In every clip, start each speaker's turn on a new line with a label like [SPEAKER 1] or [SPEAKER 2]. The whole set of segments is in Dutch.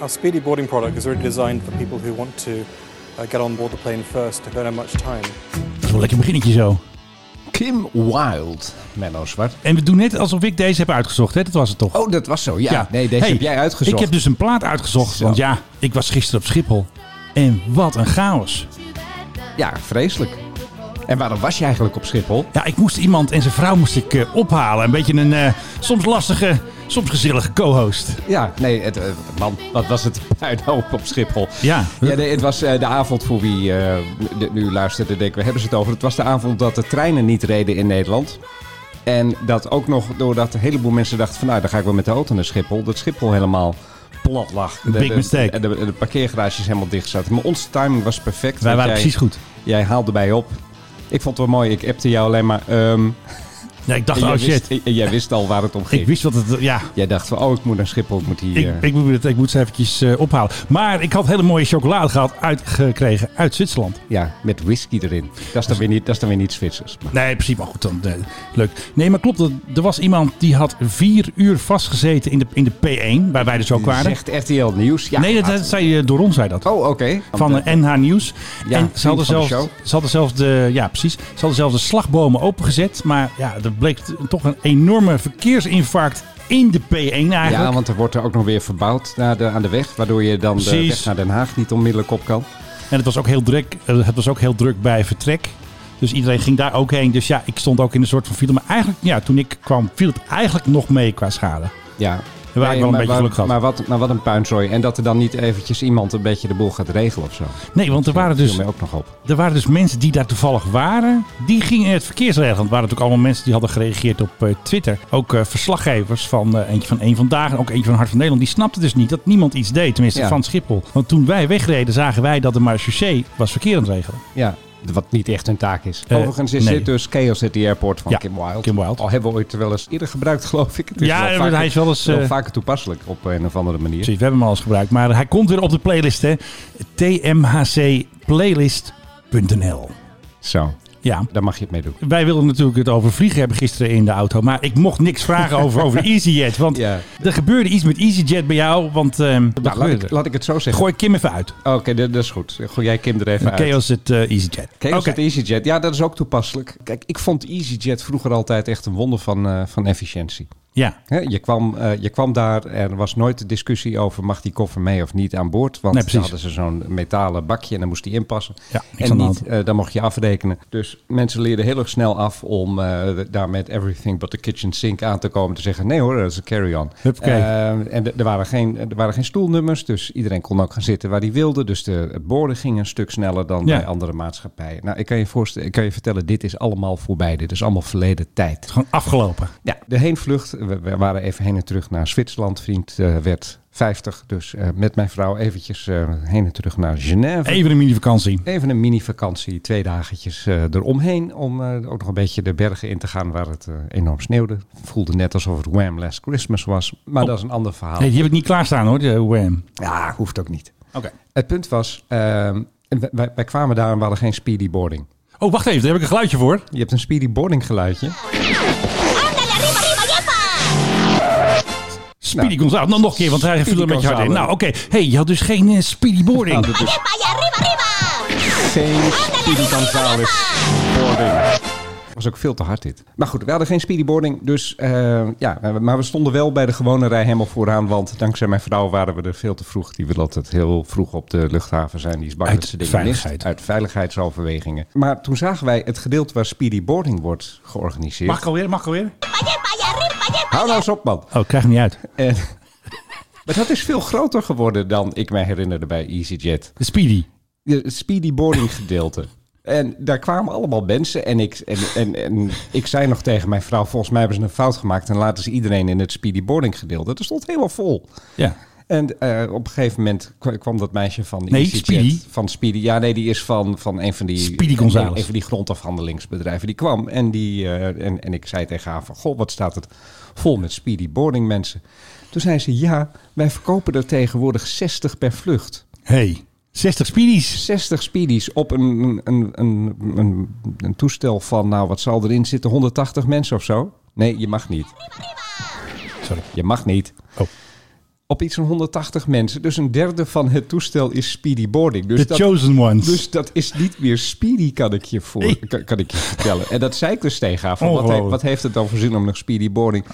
[SPEAKER 1] Our speedy boarding product is really designed for people who want to uh, get on board the plane first, who don't have much time.
[SPEAKER 2] Dat is wel een lekker beginnetje zo.
[SPEAKER 3] Kim Wild, Menno Zwart.
[SPEAKER 2] En we doen net alsof ik deze heb uitgezocht, hè? Dat was het toch?
[SPEAKER 3] Oh, dat was zo. Ja, nee, deze
[SPEAKER 2] Hey,
[SPEAKER 3] heb jij uitgezocht.
[SPEAKER 2] Ik heb dus een plaat uitgezocht,
[SPEAKER 3] Zo.
[SPEAKER 2] want ja, ik was gisteren op Schiphol. En wat een chaos.
[SPEAKER 3] Ja, vreselijk. En waarom was je eigenlijk op Schiphol?
[SPEAKER 2] Ja, ik moest iemand en zijn vrouw moest ik eh, ophalen. Een beetje een eh, soms lastige, soms gezellige co-host.
[SPEAKER 3] Ja, nee, het, eh, man, wat was het puinhoop op Schiphol.
[SPEAKER 2] Ja.
[SPEAKER 3] Ja, nee, het was eh, de avond voor wie eh, dit nu luisterde, denk ik, we hebben ze het over. Het was de avond dat de treinen niet reden in Nederland. En dat ook nog doordat een heleboel mensen dachten van nou, dan ga ik wel met de auto naar Schiphol. Dat Schiphol helemaal plat lag. De,
[SPEAKER 2] Big
[SPEAKER 3] de-
[SPEAKER 2] mistake.
[SPEAKER 3] En de, de parkeergarages helemaal dicht zaten. Maar onze timing was
[SPEAKER 2] Wij
[SPEAKER 3] perfect. want
[SPEAKER 2] waren
[SPEAKER 3] jij-
[SPEAKER 2] precies goed.
[SPEAKER 3] Jij haalde mij op. Ik vond het wel mooi. Ik appte jou alleen maar. ehm,
[SPEAKER 2] Ja, ik dacht,
[SPEAKER 3] en
[SPEAKER 2] oh
[SPEAKER 3] jij
[SPEAKER 2] shit.
[SPEAKER 3] Wist, en jij wist al waar het om ging.
[SPEAKER 2] Ik wist wat het, eh, ja,
[SPEAKER 3] Jij dacht van, oh, ik moet naar Schiphol. Ik moet hier...
[SPEAKER 2] Ik, ik, moet, het- ik moet ze eventjes eh, ophalen. Maar ik had hele mooie chocolade gehad uitgekregen uit Zwitserland.
[SPEAKER 3] Ja, met whisky erin. Dat is dan weer niet, dat is dan weer niet Zwitsers. Maar
[SPEAKER 2] Nee, precies. Maar goed, dan, eh, leuk. Nee, maar klopt. dat- Er was iemand die had vier uur vastgezeten in de, in de P1, waar wij dus ook waren.
[SPEAKER 3] Zegt RTL Nieuws. Ja,
[SPEAKER 2] nee, dat,
[SPEAKER 3] laten
[SPEAKER 2] dat zei eh, door ons, zei dat.
[SPEAKER 3] we- Oh, oké.
[SPEAKER 2] Van eh, NH Nieuws.
[SPEAKER 3] Ja,
[SPEAKER 2] en
[SPEAKER 3] vriend
[SPEAKER 2] ze hadden,
[SPEAKER 3] van
[SPEAKER 2] zelfs,
[SPEAKER 3] de show.
[SPEAKER 2] ze hadden zelfs de. Ja, precies. Ze hadden zelfs de slagbomen opengezet. Maar ja, er bleek t- toch een enorme verkeersinfarct in de P1 eigenlijk.
[SPEAKER 3] Ja, want er wordt er ook nog weer verbouwd naar de, aan de weg. Waardoor je dan de
[SPEAKER 2] Precies.
[SPEAKER 3] weg naar Den Haag niet onmiddellijk op kan.
[SPEAKER 2] En het was ook heel druk, eh, het was ook heel druk bij vertrek. Dus iedereen ging daar ook heen. Dus ja, ik stond ook in een soort van file. Maar eigenlijk, ja, toen ik kwam, viel het eigenlijk nog mee qua schade.
[SPEAKER 3] Ja.
[SPEAKER 2] wel een beetje
[SPEAKER 3] maar,
[SPEAKER 2] geluk gehad.
[SPEAKER 3] Maar wat, maar wat een puinzooi. En dat er dan niet eventjes iemand een beetje de boel gaat regelen of zo.
[SPEAKER 2] Nee, want er waren,
[SPEAKER 3] Dat viel
[SPEAKER 2] dus,
[SPEAKER 3] mij ook nog op.
[SPEAKER 2] er waren dus mensen die daar toevallig waren. Die gingen het verkeersregelen. Want het waren natuurlijk allemaal mensen die hadden gereageerd op eh, Twitter. Ook eh, verslaggevers van eh, eentje van Eén Vandaag en ook eentje van Hart van Nederland. Die snapten dus niet dat niemand iets deed. Tenminste,
[SPEAKER 3] Ja.
[SPEAKER 2] van Schiphol. Want toen wij wegreden, zagen wij dat de marechaussee was verkeer aan het regelen.
[SPEAKER 3] Ja. Wat niet echt hun taak is.
[SPEAKER 2] Eh,
[SPEAKER 3] Overigens is
[SPEAKER 2] nee.
[SPEAKER 3] dit dus Chaos at the Airport van
[SPEAKER 2] Ja,
[SPEAKER 3] Kim Wilde.
[SPEAKER 2] Kim Wilde.
[SPEAKER 3] Al hebben we ooit wel eens eerder gebruikt, geloof ik. Het
[SPEAKER 2] Ja,
[SPEAKER 3] wel
[SPEAKER 2] maar hij is wel eens, eh,
[SPEAKER 3] vaker toepasselijk op een of andere manier.
[SPEAKER 2] Precies, Dus we hebben hem al eens gebruikt. Maar hij komt weer op de playlist, hè. tmhcplaylist.nl
[SPEAKER 3] Zo,
[SPEAKER 2] Ja.
[SPEAKER 3] daar mag je het mee doen.
[SPEAKER 2] Wij wilden natuurlijk het over vliegen hebben gisteren in de auto. Maar ik mocht niks vragen over, over EasyJet. Want
[SPEAKER 3] Ja.
[SPEAKER 2] er gebeurde iets met EasyJet bij jou. Want ehm, wat
[SPEAKER 3] Nou, laat,
[SPEAKER 2] gebeurde
[SPEAKER 3] ik,
[SPEAKER 2] er?
[SPEAKER 3] laat ik het zo zeggen. Oh,
[SPEAKER 2] Gooi Kim even uit.
[SPEAKER 3] Oké, dat dat is goed. Gooi jij Kim er even uit.
[SPEAKER 2] Chaos het eh, EasyJet.
[SPEAKER 3] Chaos
[SPEAKER 2] Oké.
[SPEAKER 3] at EasyJet. Ja, dat is ook toepasselijk. Kijk, ik vond EasyJet vroeger altijd echt een wonder van, eh, van efficiëntie.
[SPEAKER 2] Ja.
[SPEAKER 3] Hè, je, kwam, eh, je kwam daar, er was nooit de discussie over mag die koffer mee of niet aan boord. Want
[SPEAKER 2] Nee,
[SPEAKER 3] dan
[SPEAKER 2] precies.
[SPEAKER 3] hadden ze zo'n metalen bakje en dan moest die inpassen.
[SPEAKER 2] Ja, niks
[SPEAKER 3] en
[SPEAKER 2] aan de
[SPEAKER 3] niet, eh, dan mocht je afrekenen. Dus mensen leerden heel erg snel af om eh, daar met everything but the kitchen sink aan te komen. Te zeggen, nee hoor, dat is een carry-on.
[SPEAKER 2] Huppakee.
[SPEAKER 3] Eh, en d- er waren, geen, er waren geen stoelnummers, dus iedereen kon ook gaan zitten waar hij wilde. Dus de het boorden ging een stuk sneller dan
[SPEAKER 2] Ja.
[SPEAKER 3] bij andere maatschappijen. Nou, ik kan je, voorstellen, ik kan je vertellen, dit is allemaal voorbij. Dit is allemaal verleden tijd.
[SPEAKER 2] Het is gewoon afgelopen.
[SPEAKER 3] Ja, de heenvlucht. We, we waren even heen en terug naar Zwitserland. Vriend eh, werd 50. Dus eh, met mijn vrouw eventjes eh, heen en terug naar Genève.
[SPEAKER 2] Even een mini-vakantie.
[SPEAKER 3] Even een mini-vakantie, twee daggetjes eh, eromheen. Om eh, ook nog een beetje de bergen in te gaan waar het eh, enorm sneeuwde. Voelde net alsof het Wham! Last Christmas was. Maar
[SPEAKER 2] Oh.
[SPEAKER 3] dat is een ander verhaal.
[SPEAKER 2] Nee, die heb ik niet klaarstaan hoor, de Wham.
[SPEAKER 3] Ja, hoeft ook niet.
[SPEAKER 2] Oké.
[SPEAKER 3] Het punt was, ehm, en wij, wij kwamen daar en we hadden geen speedy boarding.
[SPEAKER 2] Oh, wacht even. Daar heb ik een geluidje voor.
[SPEAKER 3] Je hebt een speedy boarding geluidje.
[SPEAKER 2] Speedy
[SPEAKER 3] Nou,
[SPEAKER 2] Gonzalo. Nou, nog een keer, want hij viel
[SPEAKER 3] Speedy
[SPEAKER 2] er een beetje hard in.
[SPEAKER 3] Gonzalo.
[SPEAKER 2] Nou, oké. hey, je had dus geen eh, speedy boarding.
[SPEAKER 3] Nou, dat is geen Speedy Gonzales boarding. was ook veel te hard dit. Maar goed, we hadden geen speedy boarding. Dus eh, ja, maar we stonden wel bij de gewone rij helemaal vooraan. Want dankzij mijn vrouw waren we er veel te vroeg. Die wil altijd heel vroeg op de luchthaven zijn. Die is bang
[SPEAKER 2] Uit
[SPEAKER 3] dat ze dingen
[SPEAKER 2] veiligheid.
[SPEAKER 3] mist. Uit veiligheidsoverwegingen. Maar toen zagen wij het gedeelte waar speedy boarding wordt georganiseerd.
[SPEAKER 2] Mag ik alweer? Mag ik alweer?
[SPEAKER 3] Hou nou eens op man.
[SPEAKER 2] Oh, ik krijg hem niet uit.
[SPEAKER 3] En, maar dat is veel groter geworden dan ik mij herinnerde bij EasyJet.
[SPEAKER 2] De Speedy.
[SPEAKER 3] Ja, het speedy boarding gedeelte. En daar kwamen allemaal mensen. En ik, en, en, en ik zei nog tegen mijn vrouw: Volgens mij hebben ze een fout gemaakt. En laten ze iedereen in het speedy boarding gedeelte. Dat stond helemaal vol.
[SPEAKER 2] Ja.
[SPEAKER 3] En eh, op een gegeven moment kwa- kwam dat meisje van
[SPEAKER 2] Nee,
[SPEAKER 3] EasyJet,
[SPEAKER 2] Speedy.
[SPEAKER 3] Van Speedy. Ja, nee, die is van, van een van die...
[SPEAKER 2] Speedy Gonzales.
[SPEAKER 3] Een, een van die grondafhandelingsbedrijven. Die kwam en, die, eh, en, en ik zei tegen haar van... Goh, wat staat het vol met Speedy boarding mensen. Toen zei ze, ja, wij verkopen er tegenwoordig 60 per vlucht.
[SPEAKER 2] Hey, 60 Speedies.
[SPEAKER 3] 60 speedies op een, een, een, een, een toestel van, nou wat zal erin zitten, 180 mensen of zo? Nee, je mag niet.
[SPEAKER 2] Sorry.
[SPEAKER 3] Je mag niet.
[SPEAKER 2] Oh.
[SPEAKER 3] op iets van 180 mensen. Dus een derde van het toestel is speedy boarding. Dus
[SPEAKER 2] The chosen ones.
[SPEAKER 3] Dus dat is niet meer speedy, kan ik je, voor,
[SPEAKER 2] Nee.
[SPEAKER 3] kan, kan ik je vertellen. En dat zei ik dus tegen haar. Van, wat,
[SPEAKER 2] Ongelooflijk.
[SPEAKER 3] he- wat heeft het dan voor zin om nog speedy boarding?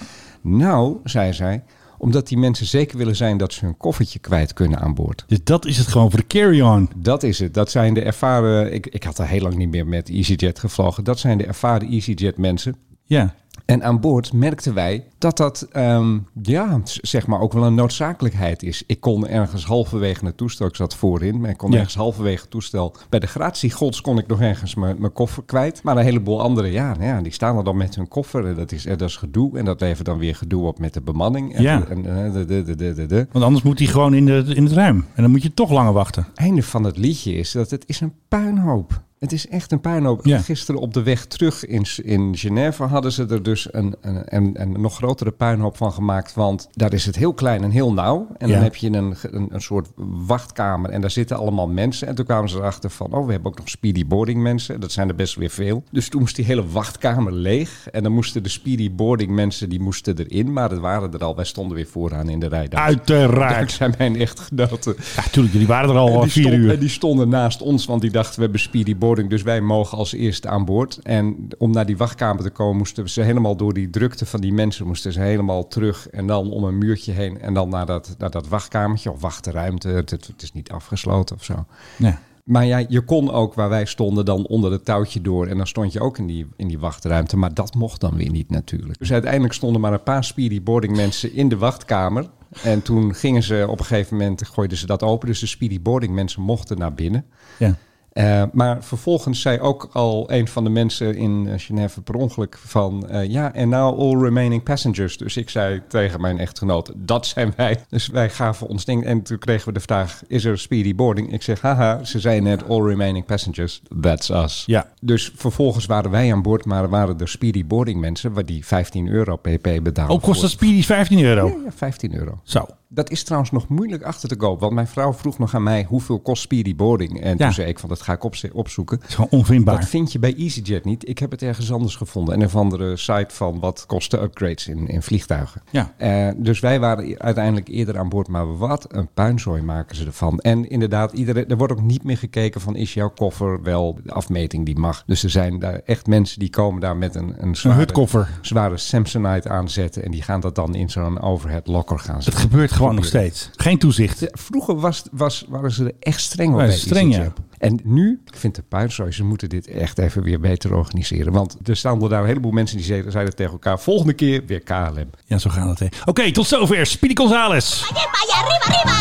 [SPEAKER 3] Nou, zei zij, omdat die mensen zeker willen zijn dat ze hun koffertje kwijt kunnen aan boord.
[SPEAKER 2] Dus dat is het gewoon voor de carry-on.
[SPEAKER 3] Dat is het. Dat zijn de ervaren... Ik, ik had al heel lang niet meer met EasyJet gevlogen. Dat zijn de ervaren EasyJet mensen.
[SPEAKER 2] Ja.
[SPEAKER 3] En aan boord merkten wij dat dat ehm, ja, z- zeg maar ook wel een noodzakelijkheid is. Ik kon ergens halverwege het toestel, ik zat voorin, maar ik kon
[SPEAKER 2] Ja.
[SPEAKER 3] ergens halverwege het toestel. Bij de gratiegods kon ik nog ergens mijn mijn koffer kwijt. Maar een heleboel anderen, ja, nou ja, die staan er dan met hun koffer. En dat is, en dat is gedoe. En dat levert dan weer gedoe op met de bemanning. En,
[SPEAKER 2] Ja.
[SPEAKER 3] en, eh, de, de, de, de, de, de.
[SPEAKER 2] Want anders moet hij gewoon in, de, in het ruim. En dan moet je toch langer wachten.
[SPEAKER 3] einde van het liedje is dat het is een puinhoop. Het is echt een puinhoop.
[SPEAKER 2] Ja.
[SPEAKER 3] Gisteren op de weg terug in, in Genève hadden ze er dus een, een, een, een nog grotere puinhoop van gemaakt. Want daar is het heel klein en heel nauw. En
[SPEAKER 2] Ja.
[SPEAKER 3] dan heb je een, ge- een, een soort wachtkamer en daar zitten allemaal mensen. En toen kwamen ze erachter van, oh, we hebben ook nog speedy boarding mensen. Dat zijn er best weer veel. Dus toen moest die hele wachtkamer leeg. En dan moesten de speedy boarding mensen, die moesten erin. Maar dat waren er al. Wij stonden weer vooraan in de rij. Dank-
[SPEAKER 2] Uiteraard.
[SPEAKER 3] Dankzij mijn echtgenoten.
[SPEAKER 2] Ja, tuurlijk. Jullie waren er
[SPEAKER 3] En
[SPEAKER 2] al eh,
[SPEAKER 3] die,
[SPEAKER 2] vier
[SPEAKER 3] stond- en
[SPEAKER 2] uur.
[SPEAKER 3] die stonden naast ons, want die dachten we hebben speedy boarding, dus wij mogen als eerste aan boord. En om naar die wachtkamer te komen, moesten ze helemaal door die drukte van die mensen, moesten ze helemaal terug en dan om een muurtje heen en dan naar dat, naar dat wachtkamertje of wachtruimte. Het, het het is niet afgesloten of zo.
[SPEAKER 2] Ja.
[SPEAKER 3] Maar ja, je kon ook waar wij stonden dan onder het touwtje door. En dan stond je ook in die, in die wachtruimte. Maar dat mocht dan weer niet natuurlijk. Dus uiteindelijk stonden maar een paar speedy boarding mensen in de wachtkamer. En toen gingen ze op een gegeven moment, gooiden ze dat open. Dus de speedy boarding mensen mochten naar binnen.
[SPEAKER 2] ja.
[SPEAKER 3] Eh, maar vervolgens zei ook al een van de mensen in eh, Genève per ongeluk van... eh, ja, en now all remaining passengers. Dus ik zei tegen mijn echtgenoot, dat zijn wij. Dus wij gaven ons ding. En toen kregen we de vraag, is er speedy boarding? Ik zeg, haha, ze zei net all remaining passengers. That's us.
[SPEAKER 2] Ja.
[SPEAKER 3] Dus vervolgens waren wij aan boord, maar waren er speedy boarding mensen... waar die 15 euro pp betaalden.
[SPEAKER 2] Ook kost dat
[SPEAKER 3] voor-
[SPEAKER 2] speedy 15 euro.
[SPEAKER 3] Ja, ja, 15 euro.
[SPEAKER 2] Zo.
[SPEAKER 3] Dat is trouwens nog moeilijk achter te kopen. Want mijn vrouw vroeg nog aan mij hoeveel kost speedy boarding. En
[SPEAKER 2] Ja.
[SPEAKER 3] toen zei ik van dat ga ik opze- opzoeken.
[SPEAKER 2] Dat is gewoon onvindbaar.
[SPEAKER 3] Dat vind je bij EasyJet niet. Ik heb het ergens anders gevonden. En een of andere site van wat kosten upgrades in, in vliegtuigen.
[SPEAKER 2] Ja.
[SPEAKER 3] Eh, dus wij waren i- uiteindelijk eerder aan boord. Maar wat een puinzooi maken ze ervan. En inderdaad, iedereen, er wordt ook niet meer gekeken van is jouw koffer wel de afmeting die mag. Dus er zijn daar echt mensen die komen daar met een, een
[SPEAKER 2] Een
[SPEAKER 3] zware,
[SPEAKER 2] hutkoffer.
[SPEAKER 3] zware Samsonite aanzetten. En die gaan dat dan in zo'n overhead locker gaan
[SPEAKER 2] Dat
[SPEAKER 3] zetten.
[SPEAKER 2] gebeurt gewoon nog steeds. Geen toezicht.
[SPEAKER 3] De- Eh, Vroeger was, was, waren ze er echt streng op
[SPEAKER 2] Waren
[SPEAKER 3] bij
[SPEAKER 2] ze streng,
[SPEAKER 3] EasyJet. En nu, ik vind het puinzooi, ze moeten dit echt even weer beter organiseren. Want er staan er daar een heleboel mensen die zeiden, zeiden tegen elkaar... volgende keer weer KLM.
[SPEAKER 2] Ja, zo gaat het. hè. Oké, tot zover. Speedy Gonzales.
[SPEAKER 4] vaya arriba, arriba!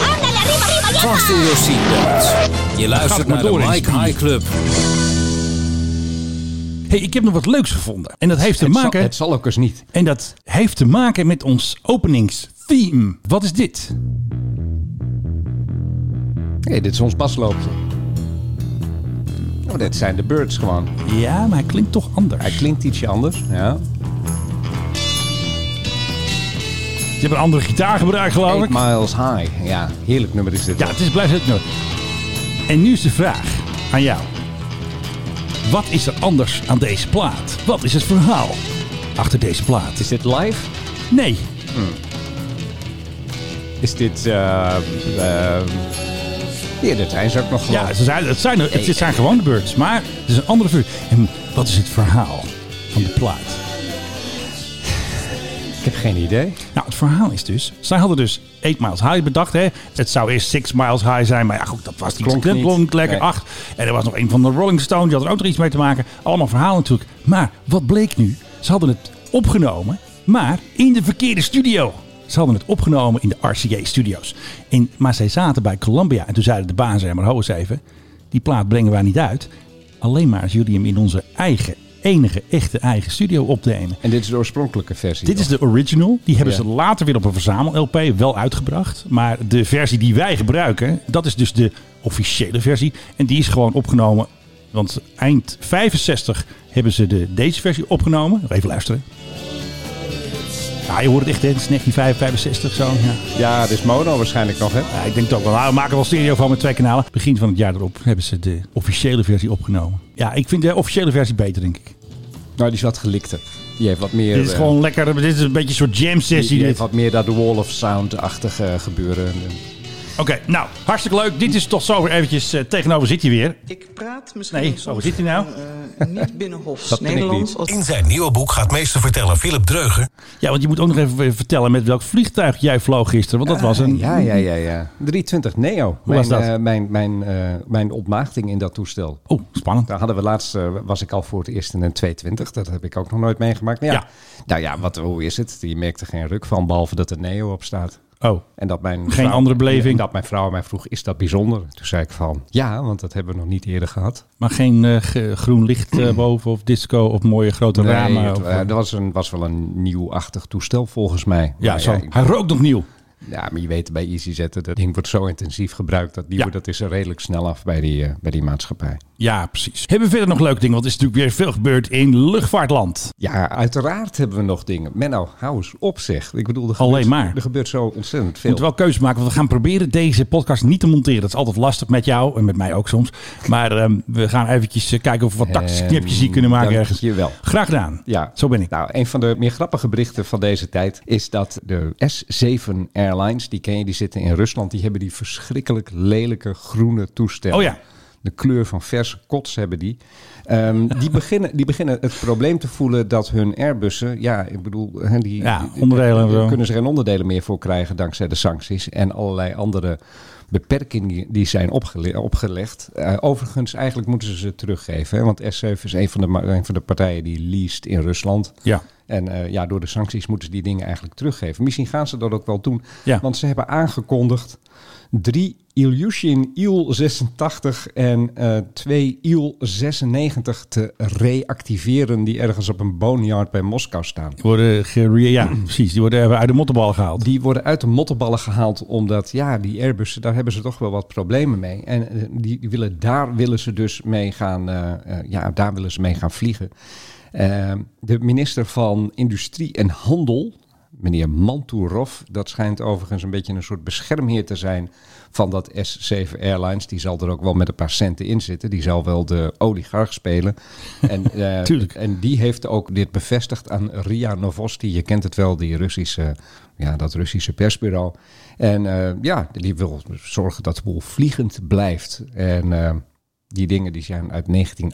[SPEAKER 4] ¡Ándale, arriba, arriba, ya!
[SPEAKER 5] Vast in your seatbelt. Je luistert
[SPEAKER 2] maar
[SPEAKER 5] naar de
[SPEAKER 2] door in
[SPEAKER 5] Mike
[SPEAKER 2] Speedy.
[SPEAKER 5] High Club.
[SPEAKER 2] Hey, ik heb nog wat leuks gevonden. En dat heeft te
[SPEAKER 3] het,
[SPEAKER 2] maken...
[SPEAKER 3] zal, het zal ook eens niet.
[SPEAKER 2] En dat heeft te maken met ons openingstheme. Wat is dit?
[SPEAKER 3] hey, dit is ons pasloopje. Oh, dit zijn de birds gewoon.
[SPEAKER 2] Ja, maar hij klinkt toch anders.
[SPEAKER 3] Hij klinkt ietsje anders.
[SPEAKER 2] Oh,
[SPEAKER 3] Ja.
[SPEAKER 2] Ze hebben een andere gitaar gebruikt, geloof
[SPEAKER 3] Eight
[SPEAKER 2] ik.
[SPEAKER 3] miles high. Ja, heerlijk nummer is dit.
[SPEAKER 2] Ja, het is blijft het nummer. En nu is de vraag aan jou. Wat is er anders aan deze plaat? Wat is het verhaal achter deze plaat?
[SPEAKER 3] Is dit live?
[SPEAKER 2] Nee,
[SPEAKER 3] Is dit... eh eh ja, dat zijn ze ook nog gewoon.
[SPEAKER 2] ja, ze zijn, het, zijn, er- het zijn gewoon de birds, maar het is een andere vuur. En wat is het verhaal van de plaat?
[SPEAKER 3] Ik heb geen idee.
[SPEAKER 2] Nou, het verhaal is dus... Zij hadden dus 8 Miles High bedacht, hè. Het zou eerst 6 Miles High zijn, maar ja, goed, dat was niet.
[SPEAKER 3] Klonk
[SPEAKER 2] Het
[SPEAKER 3] niet.
[SPEAKER 2] klonk lekker
[SPEAKER 3] Nee.
[SPEAKER 2] 8. En er was nog een van de Rolling Stones, die had er ook nog iets mee te maken. Allemaal verhalen natuurlijk. Maar wat bleek nu? Ze hadden het opgenomen, maar in de verkeerde studio. Ze hadden het opgenomen in de RCA-studios. Maar zij zaten bij Columbia. En toen zeiden de baas, "Hé, maar ho eens even. Die plaat brengen wij niet uit. Alleen maar als jullie hem in onze eigen, enige, echte eigen studio opnemen.
[SPEAKER 3] En dit is de oorspronkelijke versie.
[SPEAKER 2] Dit is de original. Die hebben
[SPEAKER 3] Ja.
[SPEAKER 2] ze later weer op een verzamel-LP wel uitgebracht. Maar de versie die wij gebruiken, dat is dus de officiële versie. En die is gewoon opgenomen. Want eind 65 hebben ze de, deze versie opgenomen. Nog Even luisteren. Ja, je hoort het echt, hè? Het is 1965 zo. Ja.
[SPEAKER 3] Ja, dit is mono waarschijnlijk nog, hè?
[SPEAKER 2] Ja, ik denk toch wel, nou, we maken wel stereo van met twee kanalen. Begin van het jaar erop hebben ze de officiële versie opgenomen. Ja, ik vind de officiële versie beter, denk ik.
[SPEAKER 3] Nou, die is wat gelikter. Die heeft wat meer...
[SPEAKER 2] Dit is
[SPEAKER 3] eh,
[SPEAKER 2] gewoon lekker. Dit is een beetje een soort jam
[SPEAKER 3] die,
[SPEAKER 2] sessie.
[SPEAKER 3] die
[SPEAKER 2] dit.
[SPEAKER 3] heeft wat meer dat The Wall of Sound-achtige gebeuren.
[SPEAKER 2] Oké, nou, hartstikke leuk. Dit is tot zover eventjes. eh, tegenover zit hij weer.
[SPEAKER 6] Ik praat misschien
[SPEAKER 2] Nee,
[SPEAKER 6] soms
[SPEAKER 2] oh, zit hij nou?
[SPEAKER 6] van, eh, niet binnenhofs
[SPEAKER 3] Dat ben ik
[SPEAKER 6] Nederlands.
[SPEAKER 3] niet.
[SPEAKER 6] Als
[SPEAKER 5] In zijn nieuwe boek gaat meesterverteller Philip Dreuger...
[SPEAKER 2] Ja, want je moet ook nog even eh, vertellen met welk vliegtuig jij vloog gisteren. Want dat was een...
[SPEAKER 3] Ja, ja, ja, ja. 320 Neo. mijn,
[SPEAKER 2] was dat?
[SPEAKER 3] eh, mijn, mijn, eh, mijn ontmaagding in dat toestel.
[SPEAKER 2] Oh, spannend.
[SPEAKER 3] Daar hadden we laatst, eh, was ik al voor het eerst in een 220. Dat heb ik ook nog nooit meegemaakt. Nou ja,
[SPEAKER 2] Ja.
[SPEAKER 3] Nou ja wat, hoe is het? Je merkt er geen ruk van, behalve dat er Neo op staat.
[SPEAKER 2] Oh,
[SPEAKER 3] En dat mijn
[SPEAKER 2] Geen andere beleving?
[SPEAKER 3] En dat mijn vrouw mij vroeg, is dat bijzonder? Toen zei ik van, ja, want dat hebben we nog niet eerder gehad.
[SPEAKER 2] maar geen eh, ge- groen licht eh, boven of disco of mooie grote ramen.
[SPEAKER 3] het,
[SPEAKER 2] of-
[SPEAKER 3] eh, dat was, een, was wel een nieuwachtig toestel volgens mij.
[SPEAKER 2] ja,
[SPEAKER 3] Maar
[SPEAKER 2] zo.
[SPEAKER 3] ik-
[SPEAKER 2] Hij rookt opnieuw.
[SPEAKER 3] Ja, maar je weet bij Easy zetten, dat ding wordt zo intensief gebruikt. Dat nieuwe,
[SPEAKER 2] Ja.
[SPEAKER 3] dat is er redelijk snel af bij die, eh, bij die maatschappij.
[SPEAKER 2] Ja, precies. Hebben we verder nog leuke dingen? Want er is natuurlijk weer veel gebeurd in luchtvaartland.
[SPEAKER 3] Ja, uiteraard hebben we nog dingen. Menno, hou eens op zich. Ik bedoel, er
[SPEAKER 2] Alleen
[SPEAKER 3] gebeurt,
[SPEAKER 2] maar.
[SPEAKER 3] Er gebeurt zo ontzettend
[SPEAKER 2] We
[SPEAKER 3] veel.
[SPEAKER 2] moeten wel keuzes maken, want we gaan proberen deze podcast niet te monteren. Dat is altijd lastig met jou en met mij ook soms. Maar ehm, we gaan eventjes eh, kijken of we wat tactische
[SPEAKER 3] Ehm,
[SPEAKER 2] knipjes hier kunnen maken ergens.
[SPEAKER 3] dankjewel.
[SPEAKER 2] Graag gedaan.
[SPEAKER 3] Ja.
[SPEAKER 2] Zo ben ik.
[SPEAKER 3] Nou, een van de meer grappige berichten van deze tijd is dat de S7 Airlines, die ken je, die zitten in Rusland, die hebben die verschrikkelijk lelijke groene toestellen.
[SPEAKER 2] Oh ja.
[SPEAKER 3] De kleur van verse kots hebben die. Ehm, die, beginnen, die beginnen het probleem te voelen dat hun Airbussen, ja, ik bedoel, hè, die,
[SPEAKER 2] Ja,
[SPEAKER 3] die- die-
[SPEAKER 2] onderdelen en
[SPEAKER 3] die-
[SPEAKER 2] zo.
[SPEAKER 3] kunnen ze geen onderdelen meer voor krijgen dankzij de sancties en allerlei andere beperkingen die zijn opgele- opgelegd. Eh, overigens, eigenlijk moeten ze ze teruggeven, hè, want S7 is een van, de, ma- een van de partijen die leased in Rusland.
[SPEAKER 2] Ja.
[SPEAKER 3] En eh, ja, door de sancties moeten ze die dingen eigenlijk teruggeven. Misschien gaan ze dat ook wel doen.
[SPEAKER 2] Ja.
[SPEAKER 3] Want ze hebben aangekondigd drie Ilyushin Il-86 en eh, twee Il-96 te reactiveren... die ergens op een boneyard bij Moskou staan.
[SPEAKER 2] Die worden gere- ja, precies. Die worden even uit de mottenballen gehaald.
[SPEAKER 3] Die worden uit de mottenballen gehaald omdat ja, die Airbussen, daar hebben ze toch wel wat problemen mee. En eh, die, die willen, daar willen ze dus mee gaan, eh, eh, ja, daar willen ze mee gaan vliegen. Eh, de minister van Industrie en Handel, meneer Mantourov, dat schijnt overigens een beetje een soort beschermheer te zijn van dat S7 Airlines. Die zal er ook wel met een paar centen in zitten. Die zal wel de oligarch spelen. En, eh,
[SPEAKER 2] Tuurlijk.
[SPEAKER 3] en die heeft ook dit bevestigd aan RIA Novosti. Je kent het wel, die Russische, ja, dat Russische persbureau. En eh, ja, die wil zorgen dat de boel vliegend blijft. En eh, die dingen die zijn uit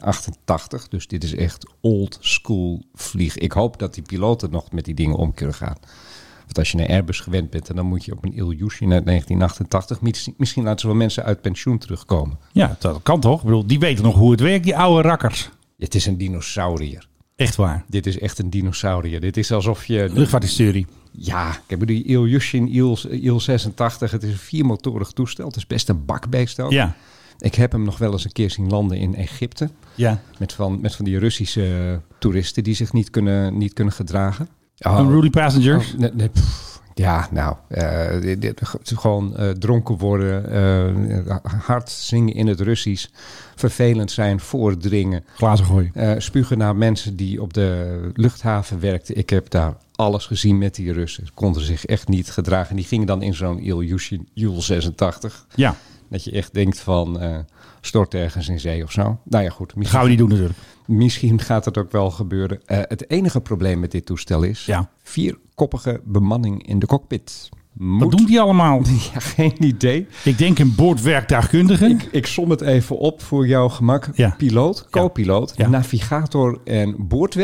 [SPEAKER 3] 1988. Dus dit is echt old school vlieg. Ik hoop dat die piloten nog met die dingen om kunnen gaan. Want als je naar Airbus gewend bent, en dan moet je op een Ilyushin uit 1988. Misschien, misschien laten ze wel mensen uit pensioen terugkomen.
[SPEAKER 2] Ja, dat kan toch? Ik bedoel, die weten nog hoe het werkt, die oude rakkers.
[SPEAKER 3] Het is een dinosaurier.
[SPEAKER 2] Echt waar.
[SPEAKER 3] Dit is echt een dinosaurier. Dit is alsof je...
[SPEAKER 2] Luchtvaarthistorie.
[SPEAKER 3] Ja, ik heb die Ilyushin Il, Il-86. Het is een viermotorig toestel. Het is best een bakbeest ook.
[SPEAKER 2] Ja.
[SPEAKER 3] Ik heb hem nog wel eens een keer zien landen in Egypte.
[SPEAKER 2] Ja.
[SPEAKER 3] Met van, met van die Russische toeristen die zich niet kunnen, niet kunnen gedragen.
[SPEAKER 2] Unruly passengers.
[SPEAKER 3] Oh, nee, nee, pff. ja, nou, eh, dit- dit- gewoon eh, dronken worden, eh, hard zingen in het Russisch, vervelend zijn, voordringen,
[SPEAKER 2] Glazen gooien.
[SPEAKER 3] eh, spugen naar mensen die op de luchthaven werkten. Ik heb daar alles gezien met die Russen. Ze konden zich echt niet gedragen. Die gingen dan in zo'n Ilyushin Jul-86.
[SPEAKER 2] Ja.
[SPEAKER 3] Dat je echt denkt van, eh, stort ergens in zee of zo. Nou ja, goed.
[SPEAKER 2] Dat gaan we niet doen natuurlijk.
[SPEAKER 3] Misschien gaat het ook wel gebeuren. Eh, het enige probleem met dit toestel is
[SPEAKER 2] Ja.
[SPEAKER 3] vierkoppige bemanning in de cockpit. Moet,
[SPEAKER 2] Wat doen die allemaal?
[SPEAKER 3] Ja, geen idee.
[SPEAKER 2] Ik denk een boordwerktuigkundige.
[SPEAKER 3] Ik, ik som het even op voor jouw gemak.
[SPEAKER 2] Ja.
[SPEAKER 3] Piloot, co-piloot,
[SPEAKER 2] Ja.
[SPEAKER 3] navigator en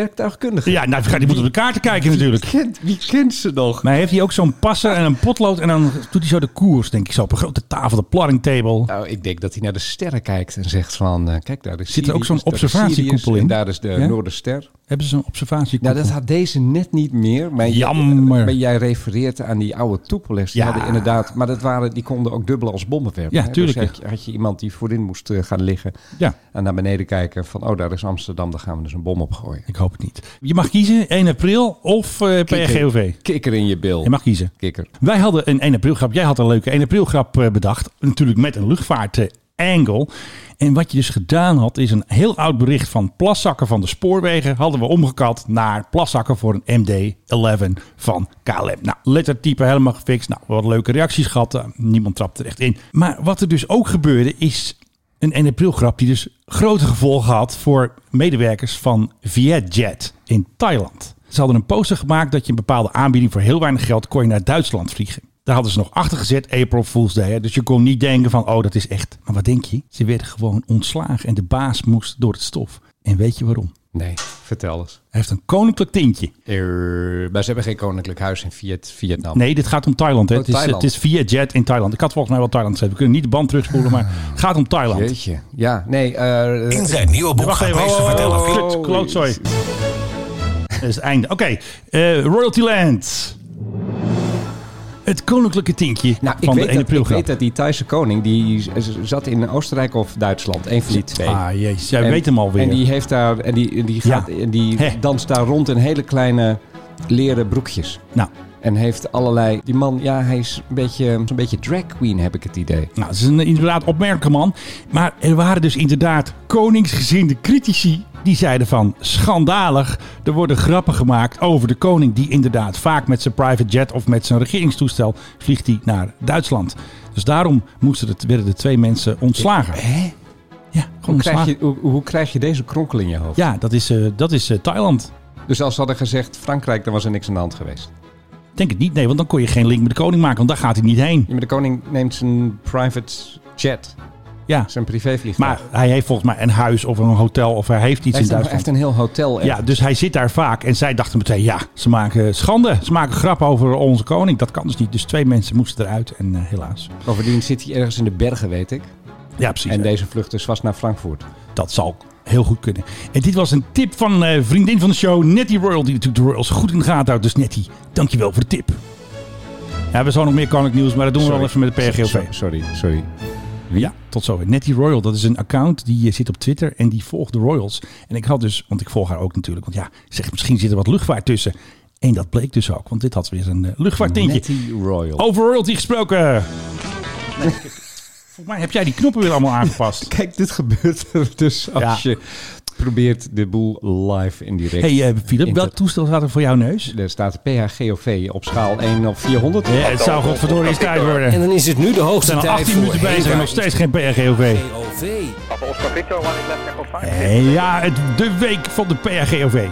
[SPEAKER 3] boordwerktuigkundige.
[SPEAKER 2] Ja, nou, die moet op de kaarten kijken natuurlijk.
[SPEAKER 3] Wie kent, wie kent ze nog?
[SPEAKER 2] Maar heeft hij ook zo'n passer en een potlood en dan doet hij zo de koers, denk ik zo, op een grote tafel, de plotting table.
[SPEAKER 3] Nou, ik denk dat hij naar de sterren kijkt en zegt van... eh, kijk, daar is
[SPEAKER 2] Zit er ook
[SPEAKER 3] Sirius,
[SPEAKER 2] zo'n
[SPEAKER 3] daar is
[SPEAKER 2] observatiekoepel
[SPEAKER 3] Sirius
[SPEAKER 2] in?
[SPEAKER 3] En daar is de
[SPEAKER 2] Ja?
[SPEAKER 3] Noorderster.
[SPEAKER 2] Hebben ze zo'n observatie?
[SPEAKER 3] Nou, dat had deze net niet meer. Maar j-
[SPEAKER 2] Jammer.
[SPEAKER 3] maar jij refereert aan die oude toepelers. Die
[SPEAKER 2] Ja.
[SPEAKER 3] hadden inderdaad... Maar dat waren, die konden ook dubbel als bommen werpen.
[SPEAKER 2] Ja,
[SPEAKER 3] hè.
[SPEAKER 2] tuurlijk,
[SPEAKER 3] Dus
[SPEAKER 2] ja.
[SPEAKER 3] had, je, had je iemand die voorin moest eh, gaan liggen...
[SPEAKER 2] Ja.
[SPEAKER 3] en naar beneden kijken van... oh, daar is Amsterdam, daar gaan we dus een bom op gooien.
[SPEAKER 2] Ik hoop het niet. Je mag kiezen 1 april of eh PRGOV.
[SPEAKER 3] Kikker in je bil.
[SPEAKER 2] Je mag kiezen.
[SPEAKER 3] Kikker.
[SPEAKER 2] Wij hadden een 1 april grap. Jij had een leuke 1 april grap eh, bedacht. Natuurlijk met een luchtvaart eh, angle. En wat je dus gedaan had, is een heel oud bericht van plaszakken van de spoorwegen. Hadden we omgekat naar plaszakken voor een MD-11 van KLM. Nou, lettertype helemaal gefixt. Nou, wat leuke reacties gehad. Eh, niemand trapte er echt in. Maar wat er dus ook gebeurde, is een 1 april grap die dus grote gevolgen had voor medewerkers van Vietjet in Thailand. Ze hadden een poster gemaakt dat je een bepaalde aanbieding voor heel weinig geld kon je naar Duitsland vliegen. Daar hadden ze nog achter gezet April Fool's Day. Hè? Dus je kon niet denken van, oh, dat is echt. Maar wat denk je? Ze werden gewoon ontslagen en de baas moest door het stof. En weet je waarom?
[SPEAKER 3] Nee, vertel eens.
[SPEAKER 2] Hij heeft een koninklijk tintje.
[SPEAKER 3] Er, maar ze hebben geen koninklijk huis in Viet, Vietnam.
[SPEAKER 2] Nee, dit gaat om Thailand. Hè?
[SPEAKER 3] Oh,
[SPEAKER 2] het, is,
[SPEAKER 3] Thailand.
[SPEAKER 2] het is via jet in Thailand. Ik had volgens mij wel Thailand gezegd. We kunnen niet de band terugspoelen, maar het gaat om Thailand.
[SPEAKER 3] Ah. Jeetje. Ja, nee. eh,
[SPEAKER 5] In zijn nieuwe boek
[SPEAKER 2] Wacht
[SPEAKER 5] gaat
[SPEAKER 2] even,
[SPEAKER 5] meester
[SPEAKER 2] oh,
[SPEAKER 5] vertellen.
[SPEAKER 2] oh,
[SPEAKER 5] Philip
[SPEAKER 2] Kut, klootzooi. Dat is het einde. Oké, eh, Royalty Land. Het koninklijke tintje
[SPEAKER 3] nou, ik,
[SPEAKER 2] van de
[SPEAKER 3] weet
[SPEAKER 2] 1
[SPEAKER 3] dat,
[SPEAKER 2] april
[SPEAKER 3] ik weet dat die Thaise koning, die z- z- zat in Oostenrijk of Duitsland. Een van die twee.
[SPEAKER 2] Ah, jezus. Jij
[SPEAKER 3] En-
[SPEAKER 2] weet hem alweer.
[SPEAKER 3] En die, heeft daar, en die, en die,
[SPEAKER 2] Ja.
[SPEAKER 3] gaat, en die
[SPEAKER 2] Hè.
[SPEAKER 3] danst daar rond in hele kleine leren broekjes.
[SPEAKER 2] Nou,
[SPEAKER 3] En heeft allerlei... Die man, ja, hij is een beetje, een beetje drag queen, heb ik het idee.
[SPEAKER 2] nou, het is een inderdaad opmerkelijke man. Maar er waren dus inderdaad koningsgezinde critici. Die zeiden van, schandalig, er worden grappen gemaakt over de koning... die inderdaad vaak met zijn private jet of met zijn regeringstoestel... vliegt hij naar Duitsland. Dus daarom moesten de, werden de twee mensen ontslagen.
[SPEAKER 3] Hè?
[SPEAKER 2] Ja, gewoon
[SPEAKER 3] Hoe krijg,
[SPEAKER 2] ontslagen.
[SPEAKER 3] je, hoe, hoe krijg je deze kronkel in je hoofd?
[SPEAKER 2] Ja, dat is, eh, dat is eh, Thailand.
[SPEAKER 3] Dus als ze hadden gezegd Frankrijk, dan was er niks aan de hand geweest.
[SPEAKER 2] Ik Denk het niet, nee, want dan kon je geen link met de koning maken, want daar gaat hij niet heen.
[SPEAKER 3] Ja, maar de koning neemt zijn private jet,
[SPEAKER 2] Ja,
[SPEAKER 3] zijn privévliegtuig.
[SPEAKER 2] maar hij heeft volgens mij een huis of een hotel of hij heeft iets
[SPEAKER 3] hij heeft
[SPEAKER 2] in
[SPEAKER 3] een, hij
[SPEAKER 2] Duitsland.
[SPEAKER 3] heeft een heel hotel.
[SPEAKER 2] Ja, dus hij zit daar vaak en zij dachten meteen, ja, ze maken schande. Ze maken grap over onze koning. Dat kan dus niet. Dus twee mensen moesten eruit en eh, helaas.
[SPEAKER 3] Bovendien zit hij ergens in de bergen, weet ik.
[SPEAKER 2] Ja, precies.
[SPEAKER 3] En deze vlucht dus was naar Frankfurt.
[SPEAKER 2] Dat zal heel goed kunnen. En dit was een tip van eh, vriendin van de show, Nettie Royal, die natuurlijk de Royals goed in de gaten houdt. Dus Nettie, dankjewel voor de tip. Ja, we zo nog meer koninklijk nieuws, maar dat doen we
[SPEAKER 3] Sorry.
[SPEAKER 2] wel even met de PRGOV.
[SPEAKER 3] Sorry, sorry, sorry.
[SPEAKER 2] Ja, tot zover. Nettie Royal, dat is een account die eh, zit op Twitter en die volgt de Royals. En ik had dus, want ik volg haar ook natuurlijk, want ja, zeg, misschien zit er wat luchtvaart tussen. En dat bleek dus ook, want dit had weer een eh, luchtvaarttintje.
[SPEAKER 3] Nettie Royal.
[SPEAKER 2] Over royalty gesproken. Volgens mij heb jij die knoppen weer allemaal aangepast.
[SPEAKER 3] Kijk, dit gebeurt er dus als
[SPEAKER 2] Ja.
[SPEAKER 3] je probeert de boel live in direct.
[SPEAKER 2] hey, eh, Philip,
[SPEAKER 3] Inter-
[SPEAKER 2] welk toestel staat er voor jouw neus?
[SPEAKER 3] Er staat PHGOV op schaal 1 op 400.
[SPEAKER 2] Ja, het zou godverdorie eens tijd worden.
[SPEAKER 7] En
[SPEAKER 2] We
[SPEAKER 7] dan is het nu de hoogste
[SPEAKER 2] zijn al
[SPEAKER 7] tijd
[SPEAKER 2] 18
[SPEAKER 7] voor
[SPEAKER 2] minuten bezig en nog steeds geen PRGOV.
[SPEAKER 7] POV.
[SPEAKER 2] Eh, Ja, het, de week van de PRGOV.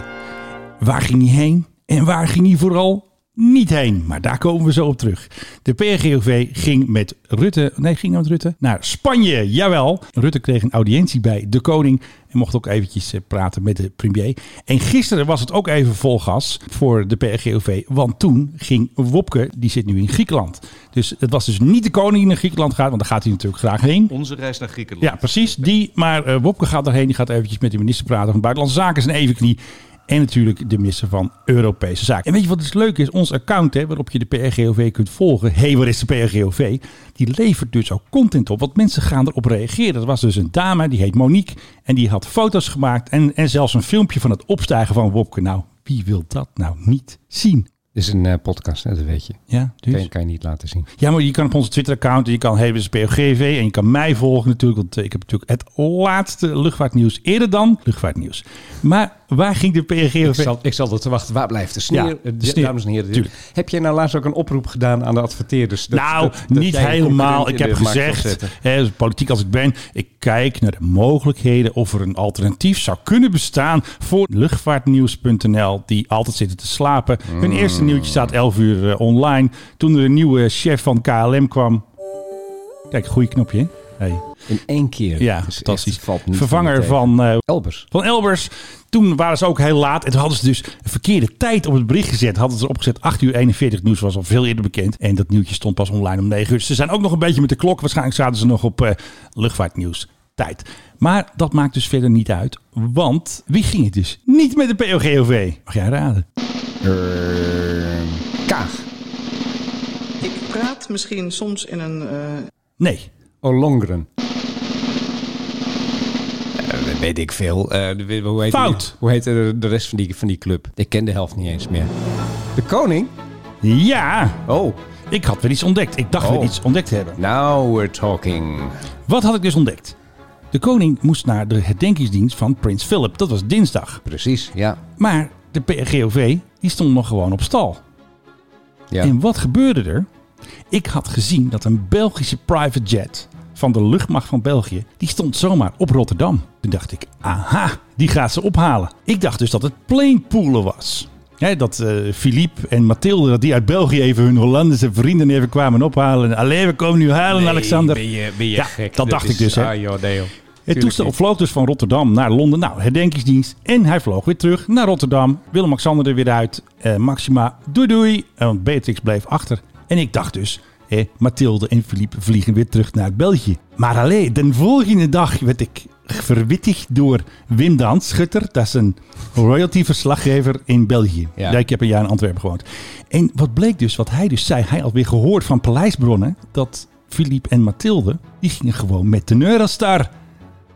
[SPEAKER 2] Waar ging hij heen en waar ging hij vooral niet heen? Maar daar komen we zo op terug. De PRGOV ging met Rutte, nee, ging hij met Rutte naar Spanje. Jawel. Rutte kreeg een audiëntie bij de koning en mocht ook eventjes eh, praten met de premier. En gisteren was het ook even vol gas voor de PRGOV, want toen ging Wopke, die zit nu in Griekenland. Dus het was dus niet de koning die naar Griekenland gaat, want daar gaat hij natuurlijk graag heen.
[SPEAKER 8] Onze reis naar Griekenland.
[SPEAKER 2] Ja, precies. Die. Maar eh, Wopke gaat daarheen. Die gaat eventjes met de minister praten van Buitenlandse Zaken. Zijn evenknie. En natuurlijk de minister van Europese Zaken. En weet je wat dus leuk is? Ons account hè, waarop je de PRGOV kunt volgen. Hé, hey, waar is de PRGOV? Die levert dus ook content op. Want mensen gaan erop reageren. Er was dus een dame, die heet Monique. En die had foto's gemaakt. En, en zelfs een filmpje van het opstijgen van Wopke. Nou, wie wil dat nou niet zien?
[SPEAKER 3] Dit is een eh, podcast, hè, dat weet je.
[SPEAKER 2] Ja, dus...
[SPEAKER 3] Kan, je- kan je niet laten zien.
[SPEAKER 2] Ja, maar je kan op onze Twitter-account, en je kan Hevens POGV en je kan mij volgen natuurlijk. Want eh, ik heb natuurlijk het laatste luchtvaartnieuws eerder dan luchtvaartnieuws. Maar waar ging de
[SPEAKER 3] Ik
[SPEAKER 2] POGV?
[SPEAKER 3] zal, ik zal er te wachten. Waar blijft de sneer?
[SPEAKER 2] Ja,
[SPEAKER 3] Eh,
[SPEAKER 2] de sneer.
[SPEAKER 3] Dames en heren,
[SPEAKER 2] Tuurlijk.
[SPEAKER 3] heb jij nou laatst ook een oproep gedaan aan de adverteerders? Dat-
[SPEAKER 2] nou,
[SPEAKER 3] dat- dat
[SPEAKER 2] niet
[SPEAKER 3] jij een
[SPEAKER 2] helemaal. Ik
[SPEAKER 3] concurrent in
[SPEAKER 2] heb
[SPEAKER 3] de markt wil zetten?
[SPEAKER 2] gezegd, hè, dus politiek als ik ben, ik kijk naar de mogelijkheden of er een alternatief zou kunnen bestaan voor luchtvaartnieuws.nl, die altijd zitten te slapen. Hun
[SPEAKER 3] Hmm.
[SPEAKER 2] eerste nieuwtje staat 11 uur eh, online. Toen er een nieuwe chef van KLM kwam. Kijk, goede knopje. hè? Hey.
[SPEAKER 3] In één keer.
[SPEAKER 2] Ja,
[SPEAKER 3] Dus Het is echt-
[SPEAKER 2] fantastisch.
[SPEAKER 3] het valt niet
[SPEAKER 2] Vervanger
[SPEAKER 3] me tegen.
[SPEAKER 2] van, eh,
[SPEAKER 3] Elbers.
[SPEAKER 2] van Elbers. Toen waren ze ook heel laat. En toen hadden ze dus een verkeerde tijd op het bericht gezet. Hadden ze erop gezet 8 uur 41. Nieuws was al veel eerder bekend. En dat nieuwtje stond pas online om 9 uur. Dus ze zijn ook nog een beetje met de klok. Waarschijnlijk zaten ze nog op eh, luchtvaartnieuws. Tijd. Maar dat maakt dus verder niet uit. Want wie ging het dus? Niet met de POGOV. Mag jij raden?
[SPEAKER 3] Eh, Kaag.
[SPEAKER 6] Ik praat misschien soms in een... eh,
[SPEAKER 2] Nee.
[SPEAKER 3] Oh, Olongren. Eh, weet ik veel. Eh, de- de- hoe heet
[SPEAKER 2] Fout.
[SPEAKER 3] die- hoe heet de, de rest van die, van die club? Ik ken de helft niet eens meer. De koning?
[SPEAKER 2] Ja,
[SPEAKER 3] Oh,
[SPEAKER 2] ik had weer iets ontdekt. Ik dacht
[SPEAKER 3] Oh.
[SPEAKER 2] weer iets ontdekt te hebben.
[SPEAKER 3] now we're talking.
[SPEAKER 2] Wat had ik dus ontdekt? De koning moest naar de herdenkingsdienst van Prins Philip. Dat was dinsdag.
[SPEAKER 3] Precies, ja.
[SPEAKER 2] Maar de PRGOV die stond nog gewoon op stal.
[SPEAKER 3] ja.
[SPEAKER 2] En wat gebeurde er? Ik had gezien dat een Belgische private jet van de luchtmacht van België, die stond zomaar op Rotterdam. Toen dacht ik, aha, die gaat ze ophalen. Ik dacht dus dat het planepoelen was. Hè, dat eh, Philippe en Mathilde, dat die uit België even hun Hollandse vrienden even kwamen ophalen. Allee, we komen nu halen, Alexander.
[SPEAKER 3] Ben je, ben je
[SPEAKER 2] Ja,
[SPEAKER 3] gek?
[SPEAKER 2] dat dacht ik dus, hè.
[SPEAKER 3] Ah, joh, nee, joh.
[SPEAKER 2] Het
[SPEAKER 3] Tuurlijk
[SPEAKER 2] toestel
[SPEAKER 3] niet.
[SPEAKER 2] vloog dus van Rotterdam naar Londen. Nou, herdenkingsdienst. En hij vloog weer terug naar Rotterdam. Willem-Alexander er weer uit. Eh, Maxima, doei doei. Eh, Want Beatrix bleef achter. En ik dacht dus, eh, Mathilde en Philippe vliegen weer terug naar België. Maar alleen, de volgende dag werd ik verwittigd door Wim Daan Schutter. Dat is een royalty-verslaggever in België.
[SPEAKER 3] Ja.
[SPEAKER 2] Ja. ik heb een jaar in Antwerpen gewoond. En wat bleek dus, wat hij dus zei, hij had weer gehoord van paleisbronnen... dat Philippe en Mathilde, die gingen gewoon met de Neurastar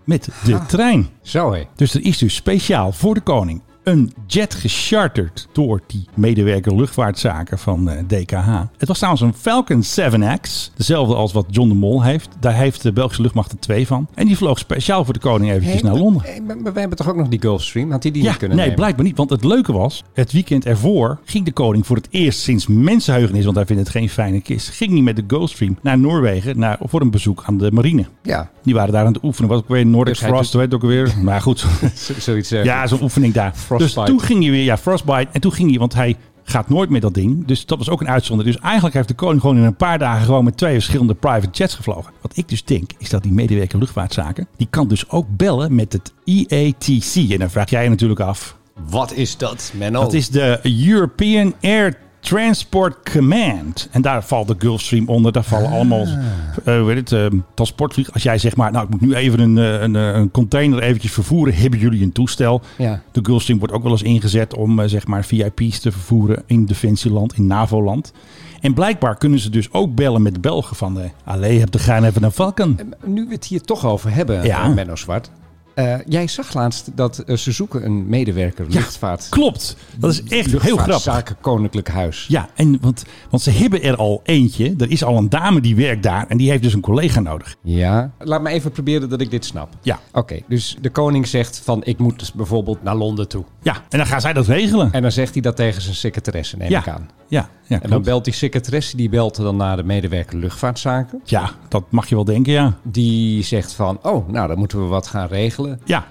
[SPEAKER 2] met de
[SPEAKER 3] Ah.
[SPEAKER 2] trein.
[SPEAKER 3] Zo, hé.
[SPEAKER 2] Dus er is dus speciaal voor de koning een jet gecharterd door die medewerker luchtvaartzaken van eh, DKH. Het was trouwens een Falcon 7X, dezelfde als wat John de Mol heeft. Daar heeft de Belgische luchtmacht er twee van. En die vloog speciaal voor de koning eventjes naar Londen.
[SPEAKER 3] Hey, maar, maar wij hebben toch ook nog die Gulfstream? Had hij die
[SPEAKER 2] Ja,
[SPEAKER 3] niet
[SPEAKER 2] nee,
[SPEAKER 3] kunnen nemen?
[SPEAKER 2] blijkbaar niet. Want het leuke was, het weekend ervoor ging de koning voor het eerst sinds mensenheugenis, want hij vindt het geen fijne kist, ging hij met de Gulfstream naar Noorwegen naar, voor een bezoek aan de marine.
[SPEAKER 3] Ja,
[SPEAKER 2] Die waren daar aan het oefenen. Was ook weer Nordic
[SPEAKER 3] Dus hij
[SPEAKER 2] Frost, weet ook weer. Maar goed,
[SPEAKER 3] z- zoiets. eh,
[SPEAKER 2] ja, zo'n oefening daar.
[SPEAKER 3] Frostbite.
[SPEAKER 2] Dus toen ging hij weer, ja, Frostbite. En toen ging hij, want hij gaat nooit meer dat ding. Dus dat was ook een uitzondering. Dus eigenlijk heeft de koning gewoon in een paar dagen gewoon met twee verschillende private jets gevlogen. Wat ik dus denk, is dat die medewerker luchtvaartzaken, die kan dus ook bellen met het E EATC. En dan vraag jij je natuurlijk af,
[SPEAKER 3] Wat is dat, Menno?
[SPEAKER 2] dat is de European Air Transport Command. En daar valt de Gulfstream onder. Daar vallen allemaal eh, weet het, eh, transportvlieg. Als jij zegt maar, nou ik moet nu even een, eh, een, eh, een container eventjes vervoeren. Hebben jullie een toestel?
[SPEAKER 3] Ja.
[SPEAKER 2] De Gulfstream wordt ook wel eens ingezet om eh, zeg maar VIP's te vervoeren in Defensieland, in NAVO-land. En blijkbaar kunnen ze dus ook bellen met de Belgen van... eh Allee, heb de gaan even naar Valken.
[SPEAKER 3] Nu we het hier toch over hebben,
[SPEAKER 2] Ja.
[SPEAKER 3] eh, Menno Zwart. Eh, jij zag laatst dat eh, ze zoeken een medewerker luchtvaart.
[SPEAKER 2] Klopt, dat is echt heel grappig.
[SPEAKER 3] Zaken Koninklijk Huis.
[SPEAKER 2] Ja, en want, want ze hebben er al eentje. Er is al een dame die werkt daar en die heeft dus een collega nodig.
[SPEAKER 3] Ja. Laat me even proberen dat ik dit snap.
[SPEAKER 2] Ja.
[SPEAKER 3] Oké, dus de koning zegt van ik moet dus bijvoorbeeld naar Londen toe.
[SPEAKER 2] Ja, en dan gaan zij dat regelen.
[SPEAKER 3] En dan zegt hij dat tegen zijn secretaresse, neem
[SPEAKER 2] ja.
[SPEAKER 3] ik aan.
[SPEAKER 2] ja, ja,
[SPEAKER 3] En dan
[SPEAKER 2] klopt.
[SPEAKER 3] belt die secretaresse, die belt dan naar de medewerker luchtvaartzaken.
[SPEAKER 2] ja, dat mag je wel denken, ja.
[SPEAKER 3] Die zegt van, oh, nou dan moeten we wat gaan regelen.
[SPEAKER 2] Ja,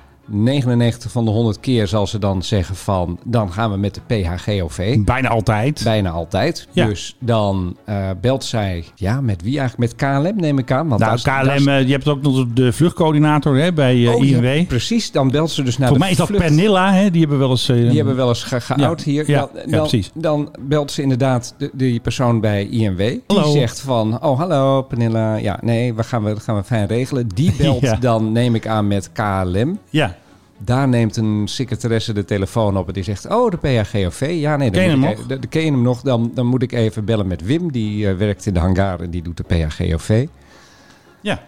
[SPEAKER 3] 99 van de 100 keer zal ze dan zeggen van, dan gaan we met de PHGOV.
[SPEAKER 2] bijna altijd.
[SPEAKER 3] Bijna altijd.
[SPEAKER 2] Hm. Ja.
[SPEAKER 3] Dus dan eh, belt zij, ja, met wie eigenlijk? Met KLM neem ik aan.
[SPEAKER 2] nou,
[SPEAKER 3] Want daar is- daar is-
[SPEAKER 2] KLM, eh, je hebt ook nog de vluchtcoördinator hè, bij eh,
[SPEAKER 3] Oh, ja,
[SPEAKER 2] INW.
[SPEAKER 3] Precies, dan belt ze dus naar
[SPEAKER 2] Voor
[SPEAKER 3] de
[SPEAKER 2] mij is dat
[SPEAKER 3] vlucht.
[SPEAKER 2] Pernilla, hè, die hebben wel eens... eh,
[SPEAKER 3] Die hebben wel eens ge- geout
[SPEAKER 2] Ja,
[SPEAKER 3] hier.
[SPEAKER 2] ja,
[SPEAKER 3] dan,
[SPEAKER 2] ja,
[SPEAKER 3] dan,
[SPEAKER 2] precies.
[SPEAKER 3] dan belt ze inderdaad de, die persoon bij IMW.
[SPEAKER 2] Hallo.
[SPEAKER 3] Die zegt van, oh hallo Pernilla. Ja, nee, we gaan, we, dat gaan we fijn regelen. Die belt
[SPEAKER 2] Ja.
[SPEAKER 3] dan, neem ik aan, met KLM.
[SPEAKER 2] Ja,
[SPEAKER 3] Daar neemt een secretaresse de telefoon op en die zegt... Oh, de PHGOV. Ja, nee,
[SPEAKER 2] Ken
[SPEAKER 3] dan
[SPEAKER 2] je
[SPEAKER 3] moet
[SPEAKER 2] hem
[SPEAKER 3] ik,
[SPEAKER 2] nog?
[SPEAKER 3] e- de- de ken je hem nog. Dan, dan moet ik even bellen met Wim. Die eh, werkt in de hangar en die doet de PHGOV.
[SPEAKER 2] ja.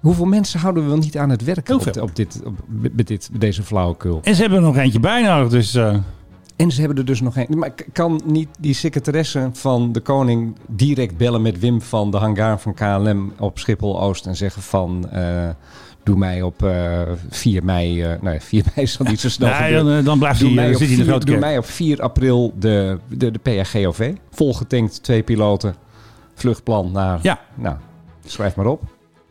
[SPEAKER 3] Hoeveel mensen houden we wel niet aan het werk
[SPEAKER 2] Heel
[SPEAKER 3] op,
[SPEAKER 2] veel.
[SPEAKER 3] de- op, dit, op, met dit, met deze flauwekul?
[SPEAKER 2] En ze hebben er nog eentje bij nodig, dus... eh,
[SPEAKER 3] En ze hebben er dus nog een. Maar k- kan niet die secretaresse van de koning direct bellen met Wim van de hangar van KLM op Schiphol Oost en zeggen van. eh, Doe mij op eh 4 mei. eh, nee, 4 mei zal niet zo snel
[SPEAKER 2] nee,
[SPEAKER 3] gebeuren.
[SPEAKER 2] dan, eh, dan blijft hij,
[SPEAKER 3] Doe,
[SPEAKER 2] eh,
[SPEAKER 3] mij, op
[SPEAKER 2] zit hij in de
[SPEAKER 3] 4,
[SPEAKER 2] grote
[SPEAKER 3] doe
[SPEAKER 2] kerk.
[SPEAKER 3] mij op 4 april de, de, de PHGOV. Volgetankt, twee piloten. Vluchtplan naar.
[SPEAKER 2] Ja.
[SPEAKER 3] Nou, schrijf maar op.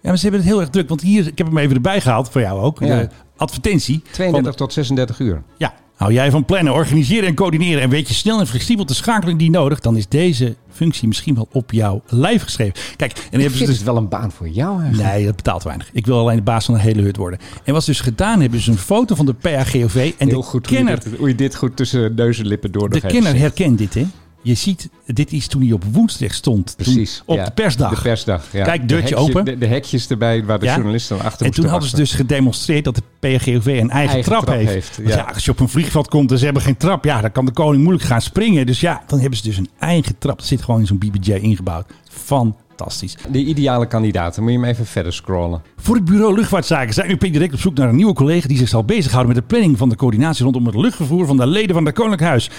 [SPEAKER 2] Ja, maar ze hebben het heel erg druk. Want hier, ik heb hem even erbij gehaald voor jou ook.
[SPEAKER 3] Ja.
[SPEAKER 2] De advertentie.
[SPEAKER 3] 32
[SPEAKER 2] Van,
[SPEAKER 3] tot 36 uur.
[SPEAKER 2] ja, hou jij van plannen, organiseren en coördineren. En weet je snel en flexibel de schakeling die nodig. Dan is deze functie misschien wel op jouw lijf geschreven. Kijk, en dan
[SPEAKER 3] Dit
[SPEAKER 2] hebben ze
[SPEAKER 3] is
[SPEAKER 2] dus...
[SPEAKER 3] wel een baan voor jou eigenlijk.
[SPEAKER 2] Nee, dat betaalt weinig. Ik wil alleen de baas van de hele hut worden. En wat ze dus gedaan hebben, is een foto van de PAGOV. En
[SPEAKER 3] Heel
[SPEAKER 2] de
[SPEAKER 3] goed hoe je,
[SPEAKER 2] kenner
[SPEAKER 3] dit, hoe je dit goed tussen neus en lippen door
[SPEAKER 2] de
[SPEAKER 3] nog even
[SPEAKER 2] kenner
[SPEAKER 3] zegt.
[SPEAKER 2] herkent dit, hè? Je ziet, dit is toen hij op woensdag stond. Toen-
[SPEAKER 3] Precies.
[SPEAKER 2] op
[SPEAKER 3] ja.
[SPEAKER 2] de persdag.
[SPEAKER 3] De persdag, ja.
[SPEAKER 2] Kijk, deurtje
[SPEAKER 3] De hekje-
[SPEAKER 2] open.
[SPEAKER 3] De, de hekjes erbij waar de
[SPEAKER 2] Ja.
[SPEAKER 3] journalisten dan achter
[SPEAKER 2] en toen
[SPEAKER 3] moesten
[SPEAKER 2] hadden ze
[SPEAKER 3] wachten.
[SPEAKER 2] dus gedemonstreerd dat de PGOV een eigen, trap,
[SPEAKER 3] trap
[SPEAKER 2] heeft.
[SPEAKER 3] heeft,
[SPEAKER 2] Want
[SPEAKER 3] ja.
[SPEAKER 2] ja, als je op een vliegveld komt en ze hebben geen trap, ja, dan kan de koning moeilijk gaan springen. Dus ja, dan hebben ze dus een eigen trap. Dat zit gewoon in zo'n BBJ ingebouwd. Fantastisch.
[SPEAKER 3] De ideale kandidaat. Dan moet je hem even verder scrollen.
[SPEAKER 2] Voor het bureau luchtvaartzaken zijn we direct op zoek naar een nieuwe collega die zich zal bezighouden met de planning van de coördinatie rondom het luchtvervoer van de leden van het Koninklijk Huis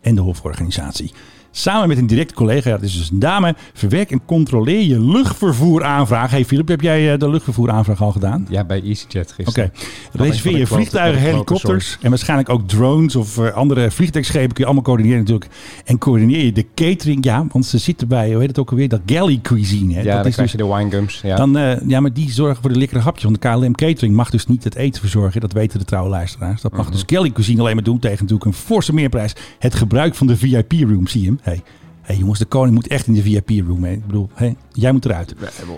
[SPEAKER 2] en de hoofdorganisatie. Samen met een directe collega, ja, dat is dus een dame, verwerk en controleer je luchtvervoeraanvraag. Hey Filip, heb jij eh, de luchtvervoeraanvraag al gedaan?
[SPEAKER 3] Ja, bij EasyJet gisteren.
[SPEAKER 2] Oké. Reserveer
[SPEAKER 3] van de
[SPEAKER 2] je
[SPEAKER 3] quote,
[SPEAKER 2] vliegtuigen,
[SPEAKER 3] van de quote,
[SPEAKER 2] helikopters en waarschijnlijk ook drones of eh, andere vliegtuigschepen kun je allemaal coördineren natuurlijk. En coördineer je de catering, ja, want ze zitten bij, hoe heet het ook alweer, dat galley cuisine. Hè?
[SPEAKER 3] Ja,
[SPEAKER 2] dat
[SPEAKER 3] dan
[SPEAKER 2] is
[SPEAKER 3] krijg
[SPEAKER 2] dus
[SPEAKER 3] je de winegums. Ja.
[SPEAKER 2] dan, eh, ja, maar die zorgen voor de lekkere hapjes. Want de KLM Catering mag dus niet het eten verzorgen. Dat weten de trouwe luisteraars. Dat mag
[SPEAKER 3] Mhm.
[SPEAKER 2] dus Kelly Cuisine alleen maar doen tegen natuurlijk een forse meerprijs. Het gebruik van de VIP-room, zie je hem? Hey. hey, jongens, de koning moet echt in de VIP-room. hè. Ik bedoel, hey, jij moet eruit.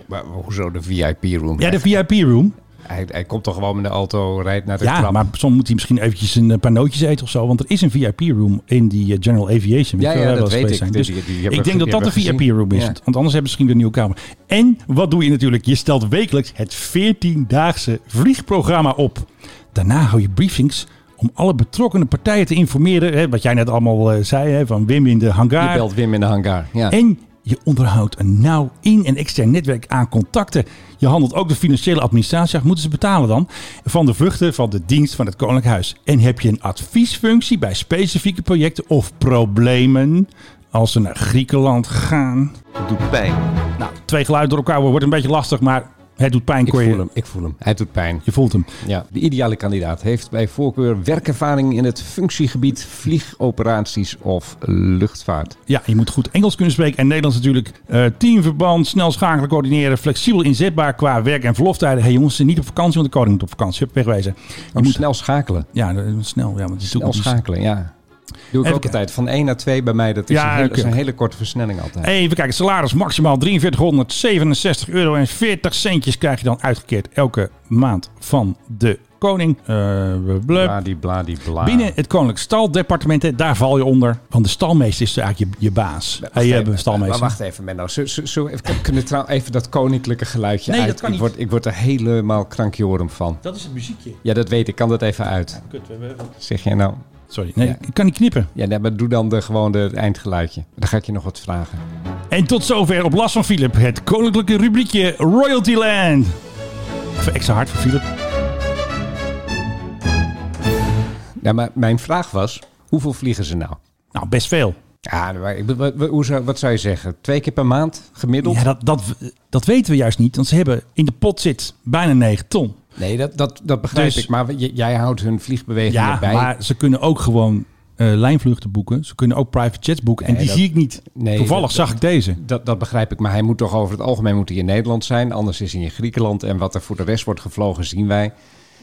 [SPEAKER 3] Maar hoezo de VIP-room?
[SPEAKER 2] Ja, de VIP-room.
[SPEAKER 3] hij, hij komt toch gewoon met de auto, rijdt naar de
[SPEAKER 2] Ja,
[SPEAKER 3] trap.
[SPEAKER 2] maar soms moet hij misschien eventjes een eh, paar nootjes eten of zo. Want er is een VIP-room in die eh, General Aviation.
[SPEAKER 3] Ja,
[SPEAKER 2] Weet je waar wij
[SPEAKER 3] ja,
[SPEAKER 2] wel eens
[SPEAKER 3] dat weet
[SPEAKER 2] geweest
[SPEAKER 3] ik.
[SPEAKER 2] zijn.
[SPEAKER 3] Die-
[SPEAKER 2] Dus
[SPEAKER 3] die- die hebben
[SPEAKER 2] ik
[SPEAKER 3] we-
[SPEAKER 2] denk dat
[SPEAKER 3] die
[SPEAKER 2] dat de
[SPEAKER 3] hebben we gezien.
[SPEAKER 2] VIP-room is.
[SPEAKER 3] Ja.
[SPEAKER 2] Want anders hebben ze misschien weer een nieuwe kamer. En wat doe je natuurlijk? Je stelt wekelijks het 14-daagse vliegprogramma op. Daarna hou je briefings om alle betrokkenen partijen te informeren. Hè, wat jij net allemaal eh, zei, hè, van Wim in de hangar.
[SPEAKER 3] Je belt Wim in de hangar. Ja.
[SPEAKER 2] En je onderhoudt een nauw in- en extern netwerk aan contacten. Je handelt ook de financiële administratie. af. Moeten ze betalen dan? Van de vruchten van de dienst van het Koninklijk Huis. En heb je een adviesfunctie bij specifieke projecten of problemen? Als ze naar Griekenland gaan.
[SPEAKER 7] Het doet pijn.
[SPEAKER 2] Nou, twee geluiden door elkaar wordt een beetje lastig, maar het doet pijn.
[SPEAKER 3] ik
[SPEAKER 2] kon je-
[SPEAKER 3] voel hem, ik voel hem. Hij doet pijn.
[SPEAKER 2] Je voelt hem.
[SPEAKER 3] Ja. De ideale kandidaat heeft bij voorkeur werkervaring in het functiegebied vliegoperaties of luchtvaart.
[SPEAKER 2] Ja, je moet goed Engels kunnen spreken en Nederlands natuurlijk. Eh, teamverband, snel schakelen, coördineren, flexibel inzetbaar qua werk- en verloftijden. Hé hey jongens, niet op vakantie, want de koning moet op vakantie. Hup, wegwezen. Je
[SPEAKER 3] Je moet
[SPEAKER 2] moet
[SPEAKER 3] snel schakelen.
[SPEAKER 2] Ja, dat is snel. Ja, want het is
[SPEAKER 3] Snel
[SPEAKER 2] natuurlijk niet-
[SPEAKER 3] schakelen, ja. Doe ik
[SPEAKER 2] Even
[SPEAKER 3] ook altijd. Van 1 naar 2 bij mij, dat is,
[SPEAKER 2] Ja,
[SPEAKER 3] een, hele, is
[SPEAKER 2] oké.
[SPEAKER 3] een hele korte versnelling altijd.
[SPEAKER 2] Even kijken, salaris maximaal 4367 euro en 40 centjes krijg je dan uitgekeerd elke maand van de koning. Eh, blub.
[SPEAKER 3] Bladibladibla.
[SPEAKER 2] Binnen het koninklijk staldepartement, hè, daar val je onder. Want de stalmeester is eigenlijk je, je baas.
[SPEAKER 3] Wacht
[SPEAKER 2] Hij
[SPEAKER 3] even,
[SPEAKER 2] een stalmeester.
[SPEAKER 3] Maar wacht even, Menno. Zo, zo, zo even, kunnen trouw even dat koninklijke geluidje
[SPEAKER 2] Nee,
[SPEAKER 3] uit?
[SPEAKER 2] dat kan
[SPEAKER 3] ik,
[SPEAKER 2] niet.
[SPEAKER 3] Word, ik word er helemaal krankjorum van.
[SPEAKER 2] Dat is het muziekje.
[SPEAKER 3] Ja, dat weet ik. Kan dat even uit? Zeg jij nou?
[SPEAKER 2] Sorry, nee, ik kan niet knippen.
[SPEAKER 3] Ja, nee, maar doe dan de, gewoon de- het eindgeluidje. Dan ga ik je nog wat vragen.
[SPEAKER 2] En tot zover op last van Philip, het koninklijke rubriekje Royalty Land. Even extra hard voor Philip.
[SPEAKER 3] Ja, maar mijn vraag was, hoeveel vliegen ze nou?
[SPEAKER 2] Nou, best veel.
[SPEAKER 3] Ja, maar ik, wat, wat, hoe zou- wat zou je zeggen? Twee keer per maand gemiddeld?
[SPEAKER 2] Ja, dat, dat, dat weten we juist niet, want ze hebben in de pot zit bijna 9 ton.
[SPEAKER 3] Nee, dat, dat, dat begrijp
[SPEAKER 2] Dus-
[SPEAKER 3] ik. Maar j- jij houdt hun vliegbewegingen
[SPEAKER 2] Ja,
[SPEAKER 3] bij.
[SPEAKER 2] maar ze kunnen ook gewoon eh, lijnvluchten boeken. Ze kunnen ook private jets boeken. en
[SPEAKER 3] Nee,
[SPEAKER 2] die
[SPEAKER 3] dat-
[SPEAKER 2] zie ik niet.
[SPEAKER 3] nee,
[SPEAKER 2] Toevallig
[SPEAKER 3] dat-
[SPEAKER 2] zag ik deze.
[SPEAKER 3] Dat, dat begrijp ik, maar hij moet toch over het algemeen moet hij in Nederland zijn. Anders is hij in Griekenland. En wat er voor de rest wordt gevlogen, zien wij.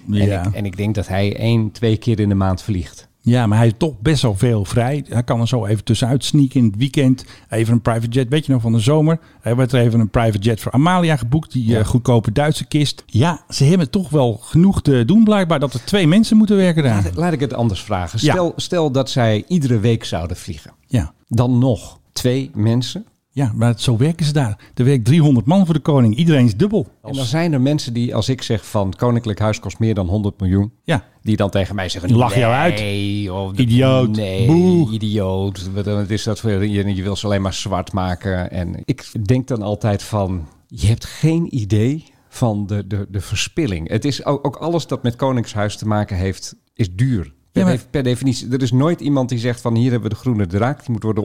[SPEAKER 3] En,
[SPEAKER 2] Ja.
[SPEAKER 3] ik, en ik denk dat hij één, twee keer in de maand vliegt.
[SPEAKER 2] ja, maar hij heeft toch best wel veel vrij. Hij kan er zo even tussenuit sneaken in het weekend. Even een private jet. Weet je nog van de zomer? Hij werd er even een private jet voor Amalia geboekt. Die eh, goedkope Duitse kist. Ja, ze hebben toch wel genoeg te doen blijkbaar. Dat er twee mensen moeten werken daar.
[SPEAKER 3] Laat ik het anders vragen.
[SPEAKER 2] Ja.
[SPEAKER 3] Stel, stel dat zij iedere week zouden vliegen.
[SPEAKER 2] Ja.
[SPEAKER 3] Dan nog twee mensen.
[SPEAKER 2] Ja, maar zo werken ze daar. Er werkt 300 man voor de koning. Iedereen is dubbel.
[SPEAKER 3] En dan zijn er mensen die, als ik zeg van Koninklijk Huis kost meer dan 100 miljoen.
[SPEAKER 2] Ja,
[SPEAKER 3] Die dan tegen mij zeggen:
[SPEAKER 2] Die lachen jou uit.
[SPEAKER 3] Nee, joh,
[SPEAKER 2] Idioot.
[SPEAKER 3] Nee,
[SPEAKER 2] Boe."
[SPEAKER 3] idioot. Wat, wat is dat voor je? Je wil ze alleen maar zwart maken. En ik denk dan altijd van: je hebt geen idee van de, de, de verspilling. Het is ook, ook alles dat met Koningshuis te maken heeft, is duur. Per,
[SPEAKER 2] Ja, maar-
[SPEAKER 3] def- per definitie. Er is nooit iemand die zegt van hier hebben we de groene draak, die moet worden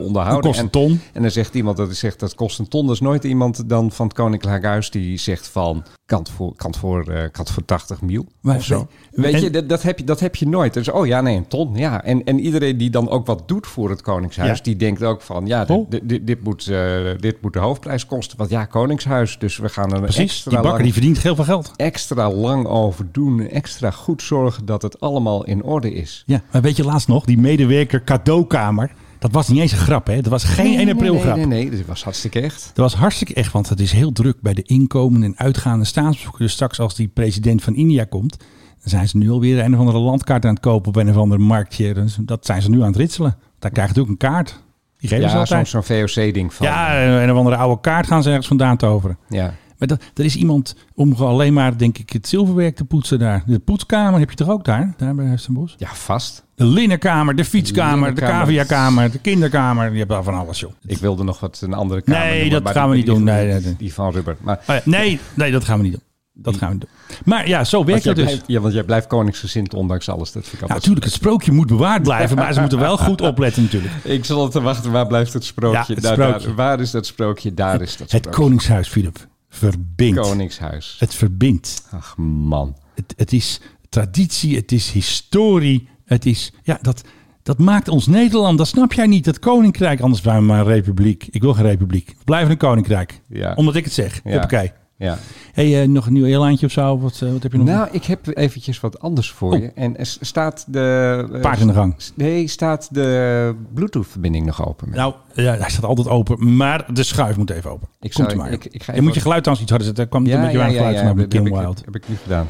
[SPEAKER 2] Dat
[SPEAKER 3] onderhouden.
[SPEAKER 2] kost een
[SPEAKER 3] En-
[SPEAKER 2] ton.
[SPEAKER 3] En dan zegt iemand dat zegt dat kost een ton. Er is nooit iemand dan van het Koninklijk Huis die zegt van kant voor, kant voor, eh, kant voor 80 mil.
[SPEAKER 2] Maar-
[SPEAKER 3] of zo.
[SPEAKER 2] en-
[SPEAKER 3] Weet je, dat, dat, heb je, dat heb je nooit. Dus, oh ja, nee, een ton. Ja. En, en iedereen die dan ook wat doet voor het Koningshuis,
[SPEAKER 2] Ja.
[SPEAKER 3] die denkt ook van ja, dit,
[SPEAKER 2] Oh.
[SPEAKER 3] dit, dit moet, eh, dit moet de hoofdprijs kosten. Want ja, Koningshuis. Dus we gaan er een
[SPEAKER 2] precies.
[SPEAKER 3] extra
[SPEAKER 2] die bakker
[SPEAKER 3] lang-
[SPEAKER 2] die verdient heel veel geld.
[SPEAKER 3] extra lang over doen. Extra goed zorgen dat het allemaal in orde is.
[SPEAKER 2] Ja, maar weet je laatst nog, die medewerker cadeaukamer. Dat was niet eens een grap, hè? Dat was geen 1 april
[SPEAKER 3] nee,
[SPEAKER 2] grap.
[SPEAKER 3] nee, nee, dit was hartstikke echt.
[SPEAKER 2] Dat was hartstikke echt, want het is heel druk bij de inkomende en uitgaande staatsbezoeken. Dus straks als die president van India komt, dan zijn ze nu alweer een of andere landkaart aan het kopen op een of ander marktje. Dus dat zijn ze nu aan het ritselen. Daar krijg je ook een kaart. Die geven ze
[SPEAKER 3] Ja, zo'n
[SPEAKER 2] altijd.
[SPEAKER 3] zo'n VOC-ding van.
[SPEAKER 2] Ja, een of andere oude kaart gaan ze ergens vandaan toveren.
[SPEAKER 3] ja.
[SPEAKER 2] Maar dat, er is iemand om gewoon alleen maar, denk ik, het zilverwerk te poetsen daar. De poetskamer heb je toch ook daar? Daar bij Huistenbos?
[SPEAKER 3] Ja, vast.
[SPEAKER 2] De linnenkamer, de fietskamer, de
[SPEAKER 3] Linnenkamer.
[SPEAKER 2] caviakamer, de kinderkamer. Je hebt daar van alles, joh.
[SPEAKER 3] Ik wilde nog wat een andere kamer
[SPEAKER 2] Nee,
[SPEAKER 3] noemen,
[SPEAKER 2] dat
[SPEAKER 3] maar
[SPEAKER 2] gaan we
[SPEAKER 3] die-
[SPEAKER 2] niet doen.
[SPEAKER 3] die-
[SPEAKER 2] Nee,
[SPEAKER 3] die-
[SPEAKER 2] nee, nee.
[SPEAKER 3] Die van Rubber. Maar
[SPEAKER 2] Oh ja, nee, nee, dat gaan we niet doen. Dat gaan we doen. Maar ja, zo werkt
[SPEAKER 3] Want jij,
[SPEAKER 2] dat dus.
[SPEAKER 3] blijft, ja, want jij blijft koningsgezind ondanks alles. Dat vind ik
[SPEAKER 2] Ja,
[SPEAKER 3] altijd-
[SPEAKER 2] natuurlijk, het sprookje moet bewaard blijven, maar ze moeten wel goed opletten natuurlijk.
[SPEAKER 3] Ik zal het te wachten. Waar blijft het sprookje?
[SPEAKER 2] Ja, het
[SPEAKER 3] Daar- daar-
[SPEAKER 2] sprookje.
[SPEAKER 3] waar is dat sprookje? Daar is dat
[SPEAKER 2] Het
[SPEAKER 3] sprookje.
[SPEAKER 2] Koningshuis, Philip, verbindt.
[SPEAKER 3] Koningshuis.
[SPEAKER 2] Het verbindt.
[SPEAKER 3] Ach man.
[SPEAKER 2] Het, het is traditie, het is historie, het is... Ja, dat, dat maakt ons Nederland, dat snap jij niet. Dat koninkrijk, anders waren we maar een republiek. Ik wil geen republiek. We blijven een koninkrijk.
[SPEAKER 3] Ja.
[SPEAKER 2] Omdat ik het zeg.
[SPEAKER 3] Ja.
[SPEAKER 2] Hoppakee.
[SPEAKER 3] Ja.
[SPEAKER 2] hey, eh, nog een nieuw eilandje of zo? Wat, eh, wat heb je nog?
[SPEAKER 3] Nou, ik heb eventjes wat anders voor
[SPEAKER 2] Oh.
[SPEAKER 3] je. En er s- staat de... eh,
[SPEAKER 2] Paard in de gang.
[SPEAKER 3] s- Nee, staat de bluetooth-verbinding nog open?
[SPEAKER 2] Nou, ja, hij staat altijd open, maar de schuif moet even open.
[SPEAKER 3] Ik
[SPEAKER 2] Komt
[SPEAKER 3] zou-
[SPEAKER 2] er maar.
[SPEAKER 3] ik- ik
[SPEAKER 2] je
[SPEAKER 3] ga even-
[SPEAKER 2] moet je geluid trouwens iets harder zetten. Er kwam een beetje warm geluid van bij
[SPEAKER 3] dat heb
[SPEAKER 2] Kim
[SPEAKER 3] ik,
[SPEAKER 2] Wild.
[SPEAKER 3] heb ik nu gedaan.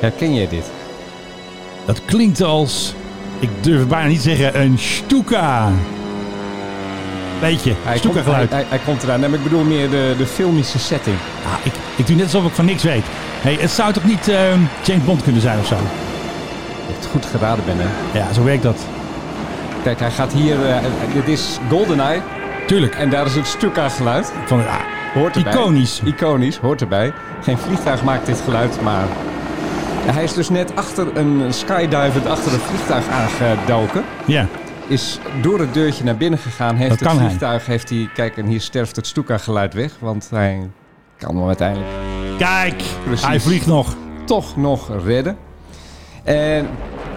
[SPEAKER 3] Herken jij dit?
[SPEAKER 2] Dat klinkt als, ik durf het bijna niet zeggen, een stuka. Beetje,
[SPEAKER 3] Hij
[SPEAKER 2] stuka
[SPEAKER 3] komt, hij,
[SPEAKER 2] geluid.
[SPEAKER 3] hij, hij komt eraan. Nee, maar ik bedoel meer de, de filmische setting.
[SPEAKER 2] Ah, ik, ik doe net alsof ik van niks weet. Hey, het zou toch niet ehm, James Bond kunnen zijn of zo?
[SPEAKER 3] Je hebt het goed geraden, Ben. Hè?
[SPEAKER 2] Ja, zo werkt dat.
[SPEAKER 3] Kijk, hij gaat hier... eh, dit is GoldenEye.
[SPEAKER 2] Tuurlijk.
[SPEAKER 3] En daar is het stuka geluid.
[SPEAKER 2] Van, ah,
[SPEAKER 3] Hoort erbij.
[SPEAKER 2] Iconisch.
[SPEAKER 3] Iconisch, hoort erbij. Geen vliegtuig maakt dit geluid, maar... Hij is dus net achter een skydivend achter een vliegtuig aangedoken.
[SPEAKER 2] ja,
[SPEAKER 3] Is door het deurtje naar binnen gegaan. Heeft
[SPEAKER 2] Dat kan
[SPEAKER 3] het
[SPEAKER 2] hij.
[SPEAKER 3] vliegtuig, heeft hij... Kijk, en hier sterft het Stuka-geluid weg. Want hij kan hem uiteindelijk
[SPEAKER 2] kijk,
[SPEAKER 3] Precies.
[SPEAKER 2] hij vliegt nog.
[SPEAKER 3] toch nog redden. En,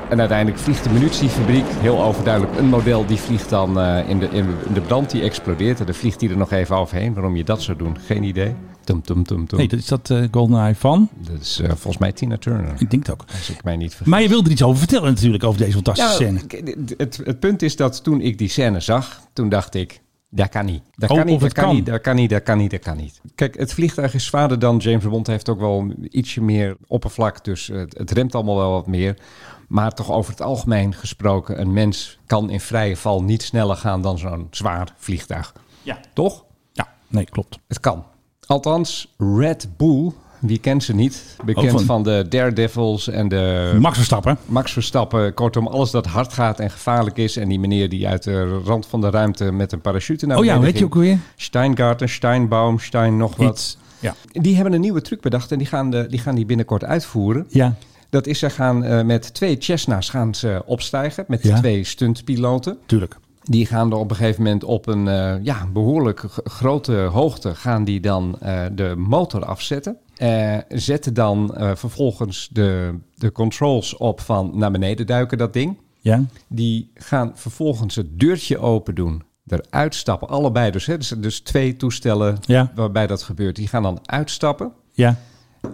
[SPEAKER 3] en uiteindelijk vliegt de munitiefabriek, heel overduidelijk, een model die vliegt dan eh, in, de, in de brand, die explodeert. En dan vliegt die er nog even overheen. Waarom je dat zou doen, geen idee. Tum, tum, tum, tum.
[SPEAKER 2] Nee, dat is dat eh, GoldenEye van?
[SPEAKER 3] Dat is eh, volgens mij Tina Turner,
[SPEAKER 2] Ik denk het ook.
[SPEAKER 3] als ik mij niet vergis.
[SPEAKER 2] Maar je wilde er iets over vertellen natuurlijk, over deze fantastische
[SPEAKER 3] Ja,
[SPEAKER 2] scène.
[SPEAKER 3] Nou, k- d- Het, het punt is dat toen ik die scène zag, toen dacht ik, dat kan niet. Dat
[SPEAKER 2] Oh,
[SPEAKER 3] kan
[SPEAKER 2] of
[SPEAKER 3] niet, dat
[SPEAKER 2] het
[SPEAKER 3] kan
[SPEAKER 2] kan.
[SPEAKER 3] niet, dat kan niet, dat kan niet, dat kan niet. Kijk, het vliegtuig is zwaarder dan James Bond, heeft ook wel ietsje meer oppervlak, dus het, het remt allemaal wel wat meer. Maar toch over het algemeen gesproken, een mens kan in vrije val niet sneller gaan dan zo'n zwaar vliegtuig.
[SPEAKER 2] Ja.
[SPEAKER 3] Toch?
[SPEAKER 2] Ja, nee, klopt.
[SPEAKER 3] Het kan. Althans, Red Bull, wie kent ze niet? Bekend
[SPEAKER 2] Ook Oh, van-
[SPEAKER 3] van... de Daredevils en de
[SPEAKER 2] Max Verstappen.
[SPEAKER 3] Max Verstappen, kortom, alles dat hard gaat en gevaarlijk is. En die meneer die uit de rand van de ruimte met een parachute naar
[SPEAKER 2] Oh ja,
[SPEAKER 3] beneden
[SPEAKER 2] weet je
[SPEAKER 3] ging.
[SPEAKER 2] ook weer?
[SPEAKER 3] Steingarten, Steinbaum, Stein nog wat.
[SPEAKER 2] Iets. Ja.
[SPEAKER 3] Die hebben een nieuwe truc bedacht en die gaan, de, die, gaan die binnenkort uitvoeren.
[SPEAKER 2] Ja.
[SPEAKER 3] Dat is, ze gaan eh, met twee Cessna's gaan ze opstijgen, met
[SPEAKER 2] Ja.
[SPEAKER 3] twee stuntpiloten.
[SPEAKER 2] Tuurlijk.
[SPEAKER 3] Die gaan er op een gegeven moment op een eh, ja, behoorlijk g- grote hoogte gaan die dan eh, de motor afzetten. Eh, zetten dan eh, vervolgens de, de controls op van naar beneden duiken dat ding.
[SPEAKER 2] Ja.
[SPEAKER 3] Die gaan vervolgens het deurtje open doen. Eruit stappen, allebei dus. Hè, dus, dus twee toestellen
[SPEAKER 2] Ja.
[SPEAKER 3] waarbij dat gebeurt. Die gaan dan uitstappen
[SPEAKER 2] Ja.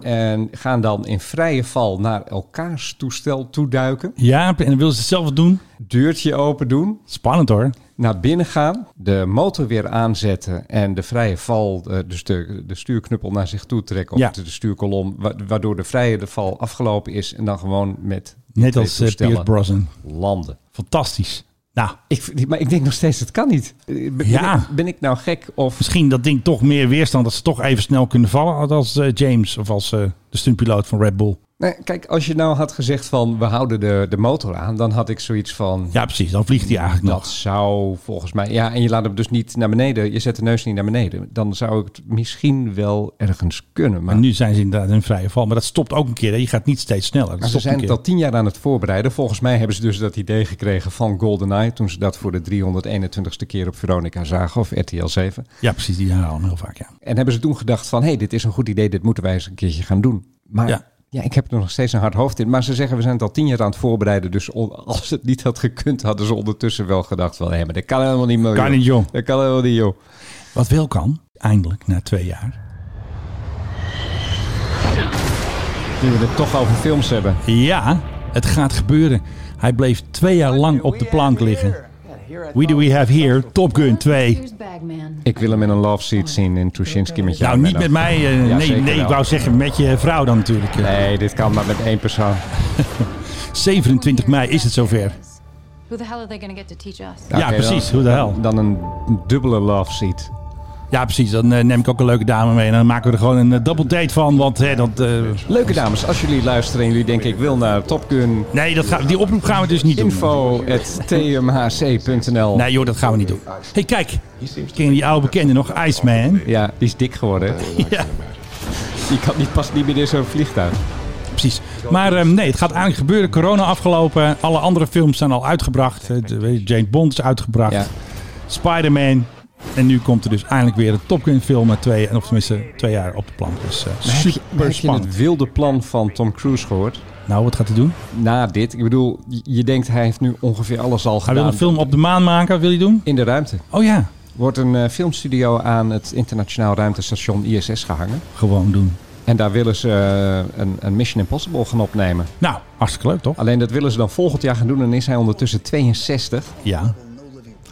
[SPEAKER 3] en gaan dan in vrije val naar elkaars toestel toeduiken.
[SPEAKER 2] Ja, en dan willen ze het zelf doen.
[SPEAKER 3] Deurtje open doen.
[SPEAKER 2] Spannend hoor.
[SPEAKER 3] naar binnen gaan, de motor weer aanzetten en de vrije val, eh, dus de, de stuurknuppel naar zich toe trekken of
[SPEAKER 2] Ja.
[SPEAKER 3] de, de stuurkolom, wa- waardoor de vrije de val afgelopen is en dan gewoon met die
[SPEAKER 2] Net
[SPEAKER 3] twee
[SPEAKER 2] als eh,
[SPEAKER 3] toestellen
[SPEAKER 2] Pierce Brosnan.
[SPEAKER 3] landen.
[SPEAKER 2] Fantastisch. Nou,
[SPEAKER 3] Ik, vind- maar ik denk nog steeds, het kan niet. Eh, Ben, ben
[SPEAKER 2] Ja.
[SPEAKER 3] ik, ben ik nou gek of...
[SPEAKER 2] misschien dat ding toch meer weerstand dat ze toch even snel kunnen vallen als eh, James of als eh, de stuntpiloot van Red Bull.
[SPEAKER 3] Nee, kijk, als je nou had gezegd van we houden de, de motor aan, dan had ik zoiets van...
[SPEAKER 2] Ja, precies. Dan vliegt hij eigenlijk
[SPEAKER 3] Dat
[SPEAKER 2] nog.
[SPEAKER 3] zou volgens mij... Ja, en je laat hem dus niet naar beneden. Je zet de neus niet naar beneden. Dan zou ik het misschien wel ergens kunnen. Maar
[SPEAKER 2] En nu zijn ze inderdaad in vrije val. Maar dat stopt ook een keer. Hè. Je gaat niet steeds sneller. Dat
[SPEAKER 3] Maar ze
[SPEAKER 2] stopt een
[SPEAKER 3] zijn
[SPEAKER 2] keer.
[SPEAKER 3] het al tien jaar aan het voorbereiden. Volgens mij hebben ze dus dat idee gekregen van GoldenEye... toen ze dat voor de 321ste keer op Veronica zagen of RTL 7.
[SPEAKER 2] Ja, precies. Die herhalen hem heel vaak. Ja.
[SPEAKER 3] En hebben ze toen gedacht van... hé, hey, dit is een goed idee, dit moeten wij eens een keertje gaan doen. Maar
[SPEAKER 2] Ja.
[SPEAKER 3] ja. ik heb er nog steeds een hard hoofd in. Maar ze zeggen, we zijn het al tien jaar aan het voorbereiden... dus on- als het niet had gekund, hadden ze ondertussen wel gedacht... van hé, maar dat kan helemaal niet meer.
[SPEAKER 2] Kan
[SPEAKER 3] joh.
[SPEAKER 2] niet, joh.
[SPEAKER 3] Dat kan helemaal niet, joh.
[SPEAKER 2] Wat wel kan, eindelijk, na twee jaar.
[SPEAKER 3] Nu we het toch over films hebben.
[SPEAKER 2] Ja, het gaat gebeuren. Hij bleef twee jaar lang op de plank liggen. We do we have here? Top Gun 2.
[SPEAKER 7] Here's Bagman.
[SPEAKER 3] Ik wil hem in een love seat zien in Tuschinski met jou.
[SPEAKER 2] Nou, niet met
[SPEAKER 3] Menno.
[SPEAKER 2] mij. eh,
[SPEAKER 3] Ja,
[SPEAKER 2] nee,
[SPEAKER 3] zeker
[SPEAKER 2] nee, ik
[SPEAKER 3] wel.
[SPEAKER 2] wou zeggen met je vrouw dan natuurlijk. eh.
[SPEAKER 3] Nee, dit kan maar met één persoon.
[SPEAKER 2] 27 mei is het zover.
[SPEAKER 7] Who the hell are they gonna get to teach us?
[SPEAKER 2] Ja,
[SPEAKER 3] Oké,
[SPEAKER 2] precies.
[SPEAKER 3] Dan,
[SPEAKER 2] Hoe de hel.
[SPEAKER 3] dan een dubbele love seat.
[SPEAKER 2] Ja, precies. Dan eh, neem ik ook een leuke dame mee. En dan maken we er gewoon een eh, double date van. Want hè, dat, eh,
[SPEAKER 3] Leuke dames, als jullie luisteren en jullie denken ik wil naar Top Gun,
[SPEAKER 2] nee, dat ga, die oproep gaan we dus niet doen.
[SPEAKER 3] info.tmhc.nl.
[SPEAKER 2] Nee joh, dat gaan we niet doen. Hé, hey, kijk. Ken je die oude bekende nog? Iceman.
[SPEAKER 3] Ja, die is dik geworden. hè?
[SPEAKER 2] Ja.
[SPEAKER 3] Je kan niet pas niet meer in zo'n vliegtuig.
[SPEAKER 2] Precies. Maar ehm, nee, het gaat eigenlijk gebeuren. Corona afgelopen. Alle andere films zijn al uitgebracht. Eh, de- weet je, Jane Bond is uitgebracht.
[SPEAKER 3] Ja.
[SPEAKER 2] Spider-Man. En nu komt er dus eindelijk weer een Top Gun film met twee, of tenminste twee jaar op de plan. Dus eh,
[SPEAKER 3] Heb je,
[SPEAKER 2] super
[SPEAKER 3] heb je
[SPEAKER 2] spannend.
[SPEAKER 3] het wilde plan van Tom Cruise gehoord?
[SPEAKER 2] Nou, wat gaat hij doen?
[SPEAKER 3] Na dit, ik bedoel, je- je denkt hij heeft nu ongeveer alles al
[SPEAKER 2] Hij
[SPEAKER 3] gedaan.
[SPEAKER 2] wil een film op de maan maken. Wat wil hij doen?
[SPEAKER 3] In de ruimte.
[SPEAKER 2] Oh ja,
[SPEAKER 3] Wordt een eh, filmstudio aan het internationaal ruimtestation ISS gehangen.
[SPEAKER 2] gewoon doen.
[SPEAKER 3] En daar willen ze eh, een, een Mission Impossible gaan opnemen.
[SPEAKER 2] Nou, hartstikke leuk toch?
[SPEAKER 3] Alleen dat willen ze dan volgend jaar gaan doen en is hij ondertussen 62.
[SPEAKER 2] Ja.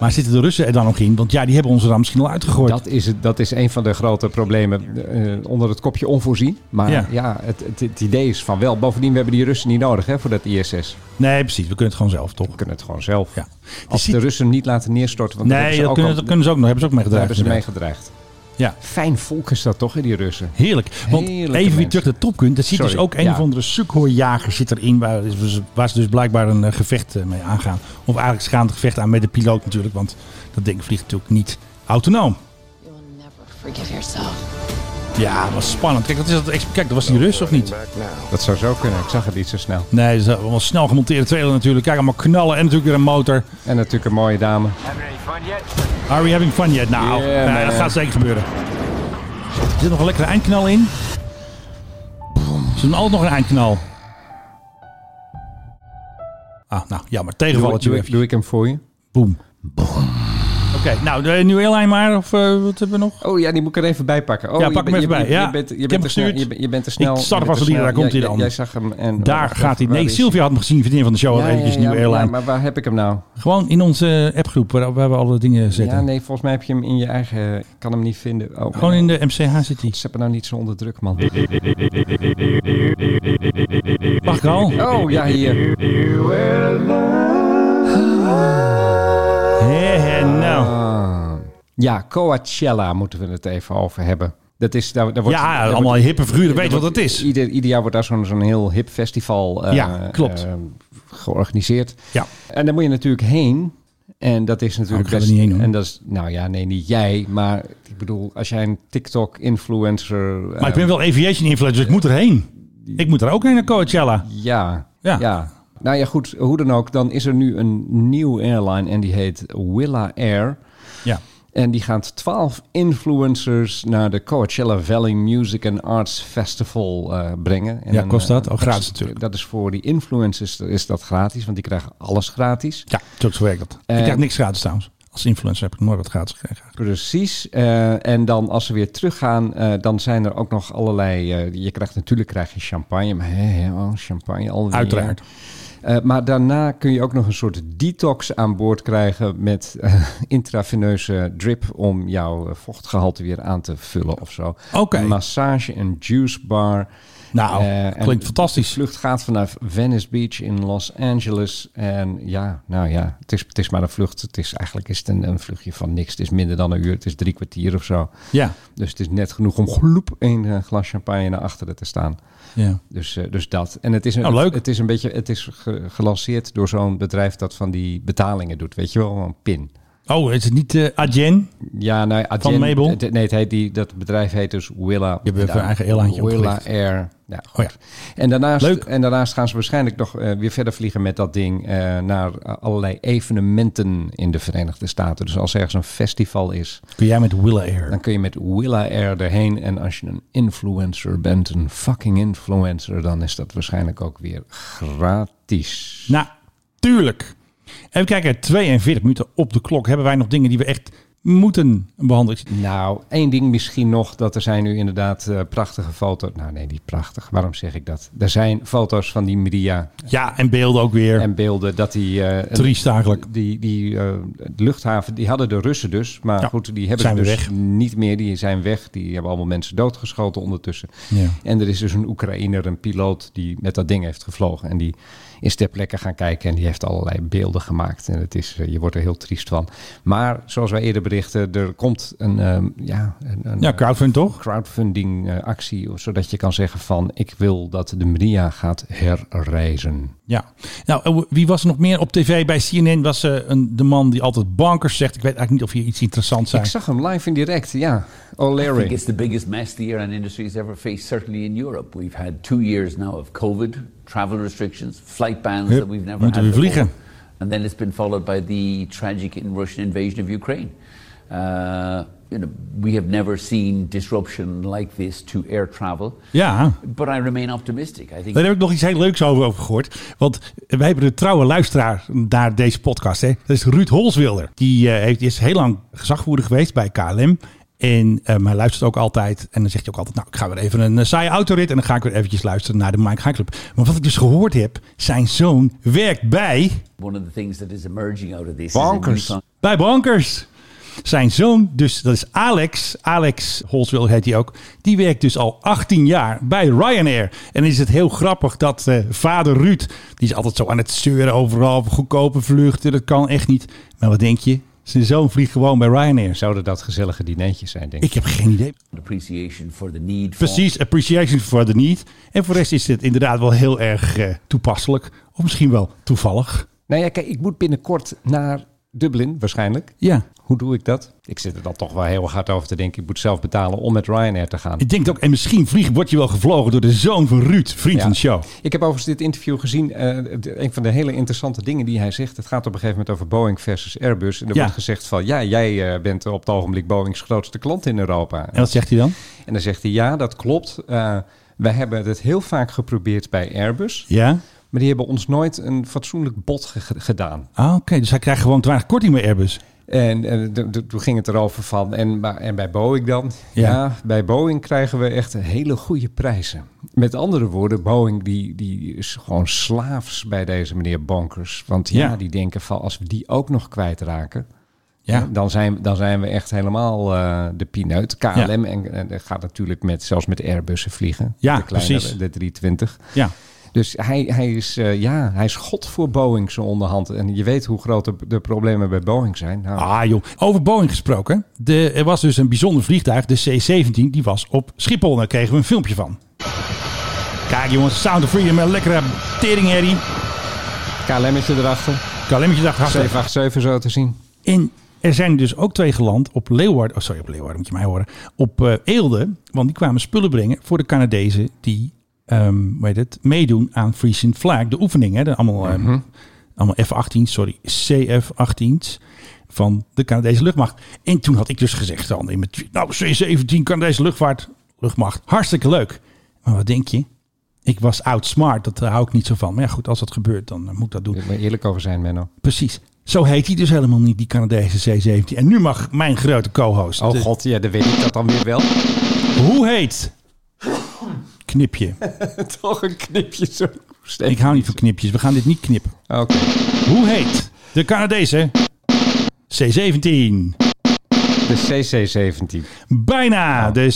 [SPEAKER 2] Maar zitten de Russen er dan nog in? Want ja, die hebben ons er dan misschien al uitgegooid.
[SPEAKER 3] Dat is, het, dat is een van de grote problemen eh, onder het kopje onvoorzien. Maar
[SPEAKER 2] Ja.
[SPEAKER 3] ja, het, het, het idee is van wel. Bovendien, we hebben die Russen niet nodig hè, voor dat ISS.
[SPEAKER 2] Nee, precies. We kunnen het gewoon zelf, toch?
[SPEAKER 3] We kunnen het gewoon zelf.
[SPEAKER 2] Ja.
[SPEAKER 3] Als
[SPEAKER 2] Je
[SPEAKER 3] de
[SPEAKER 2] ziet-
[SPEAKER 3] Russen hem niet laten neerstorten. Want
[SPEAKER 2] Nee, dat
[SPEAKER 3] dat
[SPEAKER 2] kunnen, dat kunnen ze ook nog. Hebben ze ook mee
[SPEAKER 3] daar
[SPEAKER 2] gedreigd.
[SPEAKER 3] hebben ze mee
[SPEAKER 2] inderdaad.
[SPEAKER 3] gedreigd.
[SPEAKER 2] Ja.
[SPEAKER 3] Fijn volk is dat toch, hè, die Russen?
[SPEAKER 2] Heerlijk. Want
[SPEAKER 3] Heerlijke
[SPEAKER 2] even weer
[SPEAKER 3] mensen.
[SPEAKER 2] terug naar Top Gun. Daar zit
[SPEAKER 3] Sorry,
[SPEAKER 2] dus ook een
[SPEAKER 3] ja.
[SPEAKER 2] of andere Sukhoi-jager zit erin. Waar, is- waar ze dus blijkbaar een eh, gevecht eh, mee aangaan. Of eigenlijk ze gaan het gevecht aan met de piloot natuurlijk. Want dat ding vliegt natuurlijk niet autonoom.
[SPEAKER 7] You'll never forgive yourself.
[SPEAKER 2] Ja, dat was spannend. Kijk, dat, is dat, ex- kijk, dat was die Rus of niet?
[SPEAKER 3] Dat zou zo kunnen. Ik zag het niet zo snel.
[SPEAKER 2] Nee, dat is wel een snel gemonteerde trailer natuurlijk. Kijk, allemaal knallen en natuurlijk weer een motor.
[SPEAKER 3] En natuurlijk een mooie dame.
[SPEAKER 2] Are we having fun yet? Nou,
[SPEAKER 3] Yeah,
[SPEAKER 2] nou,
[SPEAKER 3] man.
[SPEAKER 2] dat gaat zeker gebeuren. Er zit nog een lekkere eindknal in. Ze doen altijd nog een eindknal. Ah, nou, jammer.
[SPEAKER 3] Doe,
[SPEAKER 2] Tegenvalletje
[SPEAKER 3] doe,
[SPEAKER 2] weer.
[SPEAKER 3] ik, doe ik hem voor je?
[SPEAKER 2] Boom. Oké, nou, de nieuwe airline maar. Of eh, wat hebben we nog?
[SPEAKER 3] Oh ja, die moet ik er even bij pakken. Oh,
[SPEAKER 2] Ja, pak hem
[SPEAKER 3] bent-
[SPEAKER 2] even bij,
[SPEAKER 3] Je,
[SPEAKER 2] ja.
[SPEAKER 3] je bent, je
[SPEAKER 2] Ik heb hem
[SPEAKER 3] bent te snel,
[SPEAKER 2] gestuurd.
[SPEAKER 3] je, bent- je bent te snel.
[SPEAKER 2] Ik start
[SPEAKER 3] je bent
[SPEAKER 2] vast
[SPEAKER 3] te
[SPEAKER 2] wel
[SPEAKER 3] snel.
[SPEAKER 2] hier, daar komt hij
[SPEAKER 3] Ja,
[SPEAKER 2] dan.
[SPEAKER 3] Jij zag hem. En,
[SPEAKER 2] Daar
[SPEAKER 3] wacht
[SPEAKER 2] gaat hij.
[SPEAKER 3] even,
[SPEAKER 2] Nee,
[SPEAKER 3] waar is
[SPEAKER 2] Sylvia had hem gezien, vriendin van de show.
[SPEAKER 3] Ja,
[SPEAKER 2] al eventjes
[SPEAKER 3] ja,
[SPEAKER 2] nieuwe
[SPEAKER 3] ja,
[SPEAKER 2] airline.
[SPEAKER 3] ja, maar waar heb ik hem nou?
[SPEAKER 2] Gewoon in onze eh, appgroep, waar, waar we alle dingen zetten.
[SPEAKER 3] Ja, nee, volgens mij heb je hem in je eigen... Ik kan hem niet vinden. Oh,
[SPEAKER 2] Gewoon in de MCH zit hij.
[SPEAKER 3] Zet me nou niet zo onder druk, man.
[SPEAKER 2] Pascal.
[SPEAKER 3] Oh, ja, hier.
[SPEAKER 2] Hé, hé, nou.
[SPEAKER 3] Ah. Ja, Coachella moeten we het even over hebben. Dat is, daar, daar wordt, daar
[SPEAKER 2] Ja,
[SPEAKER 3] wordt-
[SPEAKER 2] allemaal hippe figuren.
[SPEAKER 3] daar
[SPEAKER 2] Weet je wat
[SPEAKER 3] wordt-
[SPEAKER 2] het is?
[SPEAKER 3] Ieder, ieder jaar wordt daar zo'n zo'n heel hip festival eh,
[SPEAKER 2] Ja, klopt.
[SPEAKER 3] eh, georganiseerd.
[SPEAKER 2] Ja.
[SPEAKER 3] En daar moet je natuurlijk heen. En dat is natuurlijk
[SPEAKER 2] ik ga er
[SPEAKER 3] best-
[SPEAKER 2] niet heen, hoor.
[SPEAKER 3] En dat is, nou ja, nee, niet jij. Maar ik bedoel, als jij een eh, TikTok-influencer...
[SPEAKER 2] Maar ik ben wel aviation influencer, dus ik moet erheen. Ik moet er ook heen naar Coachella.
[SPEAKER 3] Ja,
[SPEAKER 2] Ja.
[SPEAKER 3] ja. Nou ja, goed, hoe dan ook. Dan is er nu een nieuwe airline en die heet Willa Air.
[SPEAKER 2] Ja.
[SPEAKER 3] En die gaat 12 influencers naar de Coachella Valley Music and Arts Festival eh, brengen. En
[SPEAKER 2] Ja,
[SPEAKER 3] dan,
[SPEAKER 2] kost
[SPEAKER 3] eh,
[SPEAKER 2] dat? Oh, gratis
[SPEAKER 3] is-
[SPEAKER 2] natuurlijk.
[SPEAKER 3] Dat is voor die influencers is dat gratis, want die krijgen alles gratis.
[SPEAKER 2] Ja, zo zo werkt dat.
[SPEAKER 3] Eh,
[SPEAKER 2] ik krijg niks gratis trouwens. Als influencer heb ik nooit wat gratis gekregen.
[SPEAKER 3] Precies. Eh, en dan als ze weer teruggaan, eh, dan zijn er ook nog allerlei... eh, je krijgt natuurlijk krijg je champagne, maar hè, hè, oh, champagne alweer.
[SPEAKER 2] Uiteraard.
[SPEAKER 3] Eh, maar daarna kun je ook nog een soort detox aan boord krijgen met eh, intraveneuze drip om jouw eh, vochtgehalte weer aan te vullen of zo.
[SPEAKER 2] Oké.
[SPEAKER 3] Een massage, een juice bar.
[SPEAKER 2] Nou,
[SPEAKER 3] Eh, en
[SPEAKER 2] klinkt fantastisch.
[SPEAKER 3] De vlucht gaat vanaf Venice Beach in Los Angeles. En ja, nou ja, het is, het is maar een vlucht. Het is eigenlijk is het een, een vluchtje van niks. Het is minder dan een uur. Het is drie kwartier of zo.
[SPEAKER 2] Ja.
[SPEAKER 3] Dus het is net genoeg om gloep een eh, glas champagne naar achteren te staan.
[SPEAKER 2] ja.
[SPEAKER 3] Dus, eh, dus dat. En het is, een,
[SPEAKER 2] Nou, leuk.
[SPEAKER 3] Het is een beetje het is ge- gelanceerd door zo'n bedrijf dat van die betalingen doet. Weet je wel, een pin.
[SPEAKER 2] Oh, is het niet eh Adyen?
[SPEAKER 3] Ja, nou,
[SPEAKER 2] Van
[SPEAKER 3] Adyen-
[SPEAKER 2] Mabel?
[SPEAKER 3] Het- Nee, het heet die, dat bedrijf heet dus Willa.
[SPEAKER 2] Je hebt
[SPEAKER 3] Ja,
[SPEAKER 2] een eigen airline
[SPEAKER 3] Willa
[SPEAKER 2] opgericht.
[SPEAKER 3] Air. Ja,
[SPEAKER 2] Oh ja.
[SPEAKER 3] en, daarnaast,
[SPEAKER 2] Leuk.
[SPEAKER 3] en daarnaast gaan ze waarschijnlijk nog eh, weer verder vliegen met dat ding eh, naar allerlei evenementen in de Verenigde Staten. Dus als ergens een festival is,
[SPEAKER 2] Kun jij met Willa Air?
[SPEAKER 3] dan kun je met Willa Air erheen. En als je een influencer bent, een fucking influencer, dan is dat waarschijnlijk ook weer gratis.
[SPEAKER 2] Natuurlijk. Nou, Even kijken, 42 minuten op de klok. Hebben wij nog dingen die we echt moeten behandelen?
[SPEAKER 3] Nou, één ding misschien nog, dat er zijn nu inderdaad eh, prachtige foto's. Nou nee, niet prachtig. Waarom zeg ik dat? Er zijn foto's van die Maria
[SPEAKER 2] Ja, en beelden ook weer.
[SPEAKER 3] en beelden dat die... eh, een-
[SPEAKER 2] Triest eigenlijk.
[SPEAKER 3] Die, die eh, de luchthaven, die hadden de Russen dus. Maar
[SPEAKER 2] Ja,
[SPEAKER 3] goed, die hebben
[SPEAKER 2] zijn
[SPEAKER 3] ze
[SPEAKER 2] weer
[SPEAKER 3] dus
[SPEAKER 2] weg.
[SPEAKER 3] niet meer. Die zijn weg. Die hebben allemaal mensen doodgeschoten ondertussen.
[SPEAKER 2] Ja.
[SPEAKER 3] En er is dus een Oekraïner, een piloot, die met dat ding heeft gevlogen. En die is ter plekke gaan kijken en die heeft allerlei beelden gemaakt. En het is, eh, je wordt er heel triest van. Maar zoals wij eerder berichten. Er komt een, ehm, ja, een, een,
[SPEAKER 2] Ja, crowdfund toch?
[SPEAKER 3] crowdfunding eh, actie, zodat je kan zeggen van ik wil dat de Maria gaat herreizen.
[SPEAKER 2] Ja. Nou, eh, wie was er nog meer op tv bij CNN? Was eh, een, de man die altijd bankers zegt. Ik weet eigenlijk niet of hier iets interessants zijn.
[SPEAKER 3] Ik zag hem live in direct, ja. O'Leary.
[SPEAKER 8] It's the biggest mess the airline industry has ever faced, certainly in Europe. We've had two years now of COVID, travel restrictions, flight bans
[SPEAKER 2] Hup,
[SPEAKER 8] that we've never
[SPEAKER 2] moeten
[SPEAKER 8] had
[SPEAKER 2] we vliegen.
[SPEAKER 8] before. And then it's been followed by the tragic in- Russian invasion of Ukraine. Uh, you know, we have never seen disruption like this to air travel.
[SPEAKER 2] Ja.
[SPEAKER 8] But I remain optimistic. I think
[SPEAKER 2] Daar heb ik nog iets heel leuks over, over gehoord. Want wij hebben een trouwe luisteraar naar deze podcast. Hè? Dat is Ruud Holswilder. Die eh, heeft, is heel lang gezagvoerder geweest bij KLM. En, eh, maar hij luistert ook altijd. En dan zegt hij ook altijd, nou, ik ga weer even een eh, saaie autorit. En dan ga ik weer eventjes luisteren naar de Mike High Club. Maar wat ik dus gehoord heb, zijn zoon werkt bij...
[SPEAKER 8] one of the things that is emerging out of this is
[SPEAKER 3] Bonkers.
[SPEAKER 8] a new
[SPEAKER 2] Bij Bankers. Zijn zoon, dus dat is Alex, Alex Holswil heet hij ook, die werkt dus al 18 jaar bij Ryanair. En is het heel grappig dat eh, vader Ruud, die is altijd zo aan het zeuren overal, goedkope vluchten, dat kan echt niet. Maar wat denk je? Zijn zoon vliegt gewoon bij Ryanair.
[SPEAKER 3] Zouden dat gezellige dinertjes zijn, denk ik.
[SPEAKER 2] Ik heb geen idee.
[SPEAKER 8] appreciation for the need for
[SPEAKER 2] Precies, appreciation for the need. En voor de rest is dit inderdaad wel heel erg eh, toepasselijk. Of misschien wel toevallig.
[SPEAKER 3] Nou ja, kijk, ik moet binnenkort naar Dublin, waarschijnlijk.
[SPEAKER 2] Ja,
[SPEAKER 3] Hoe doe ik dat? Ik zit er dan toch wel heel hard over te denken. Ik moet zelf betalen om met Ryanair te gaan.
[SPEAKER 2] ik denk het ook. En misschien vlieg, word je wel gevlogen door de zoon van Ruud, vriend
[SPEAKER 3] Ja.
[SPEAKER 2] van de show.
[SPEAKER 3] Ik heb overigens dit interview gezien. eh, de- een van de hele interessante dingen die hij zegt. Het gaat op een gegeven moment over Boeing versus Airbus. En er
[SPEAKER 2] Ja.
[SPEAKER 3] wordt gezegd van ja, jij eh, bent op het ogenblik Boeings grootste klant in Europa.
[SPEAKER 2] En wat zegt hij dan?
[SPEAKER 3] En dan zegt hij ja, dat klopt. Eh, wij hebben het heel vaak geprobeerd bij Airbus.
[SPEAKER 2] Ja?
[SPEAKER 3] Maar die hebben ons nooit een fatsoenlijk bod ge- gedaan.
[SPEAKER 2] Ah, oké. Dus hij krijgt gewoon te weinig korting bij Airbus.
[SPEAKER 3] En, eh, d- d- toen ging het erover van. En, maar- en bij Boeing dan?
[SPEAKER 2] Ja.
[SPEAKER 3] Ja. bij Boeing krijgen we echt hele goede prijzen. Met andere woorden, Boeing die, die is gewoon slaafs bij deze meneer Bonkers. Want ja,
[SPEAKER 2] Ja.
[SPEAKER 3] die denken van als we die ook nog kwijtraken.
[SPEAKER 2] Ja.
[SPEAKER 3] Dan, zijn, dan zijn we echt helemaal eh, de pineut. KLM
[SPEAKER 2] Ja.
[SPEAKER 3] en, en dat gaat natuurlijk met, zelfs met Airbussen vliegen.
[SPEAKER 2] Ja,
[SPEAKER 3] de kleinere,
[SPEAKER 2] precies.
[SPEAKER 3] De 320.
[SPEAKER 2] Ja.
[SPEAKER 3] Dus hij, hij, is, eh, ja, hij is god voor Boeing zo onderhand. En je weet hoe groot de, de problemen bij Boeing zijn. Nou,
[SPEAKER 2] Ah joh. Over Boeing gesproken. De, er was dus een bijzonder vliegtuig, de C-17. Die was op Schiphol. Daar kregen we een filmpje van. Kijk jongens, Sound of Freedom. Een lekkere teringherrie.
[SPEAKER 3] KLM'tje erachter.
[SPEAKER 2] Kalemmetje dacht hartstikke.
[SPEAKER 3] 787 zo te zien.
[SPEAKER 2] En er zijn dus ook twee geland op Leeuwarden. Oh, sorry, op Leeuwarden moet je mij horen. Op eh, Eelde. Want die kwamen spullen brengen voor de Canadezen die ehm, hoe heet het, meedoen aan Frisian Flag. De oefening, hè? De, allemaal, ehm, allemaal F-18, sorry, CF-18's van de Canadese luchtmacht. En toen had ik dus gezegd dan in mijn tweet, nou, C-17 Canadese luchtvaart, luchtmacht, hartstikke leuk. Maar wat denk je? Ik was outsmart, dat eh, hou ik niet zo van. Maar ja, goed, als dat gebeurt, dan eh, moet ik dat doen.
[SPEAKER 3] Ik moet eerlijk over zijn, Menno.
[SPEAKER 2] Precies. Zo heet hij dus helemaal niet, die Canadese C-17. En nu mag mijn grote co-host.
[SPEAKER 3] Oh
[SPEAKER 2] de-
[SPEAKER 3] god, ja, dan weet ik dat dan weer wel.
[SPEAKER 2] Hoe heet? Knipje.
[SPEAKER 3] Toch een knipje zo. Steek.
[SPEAKER 2] Ik hou niet van knipjes. We gaan dit niet knippen.
[SPEAKER 3] Oké.
[SPEAKER 2] Hoe heet de Canadese C-17?
[SPEAKER 3] De CC-17.
[SPEAKER 2] Bijna de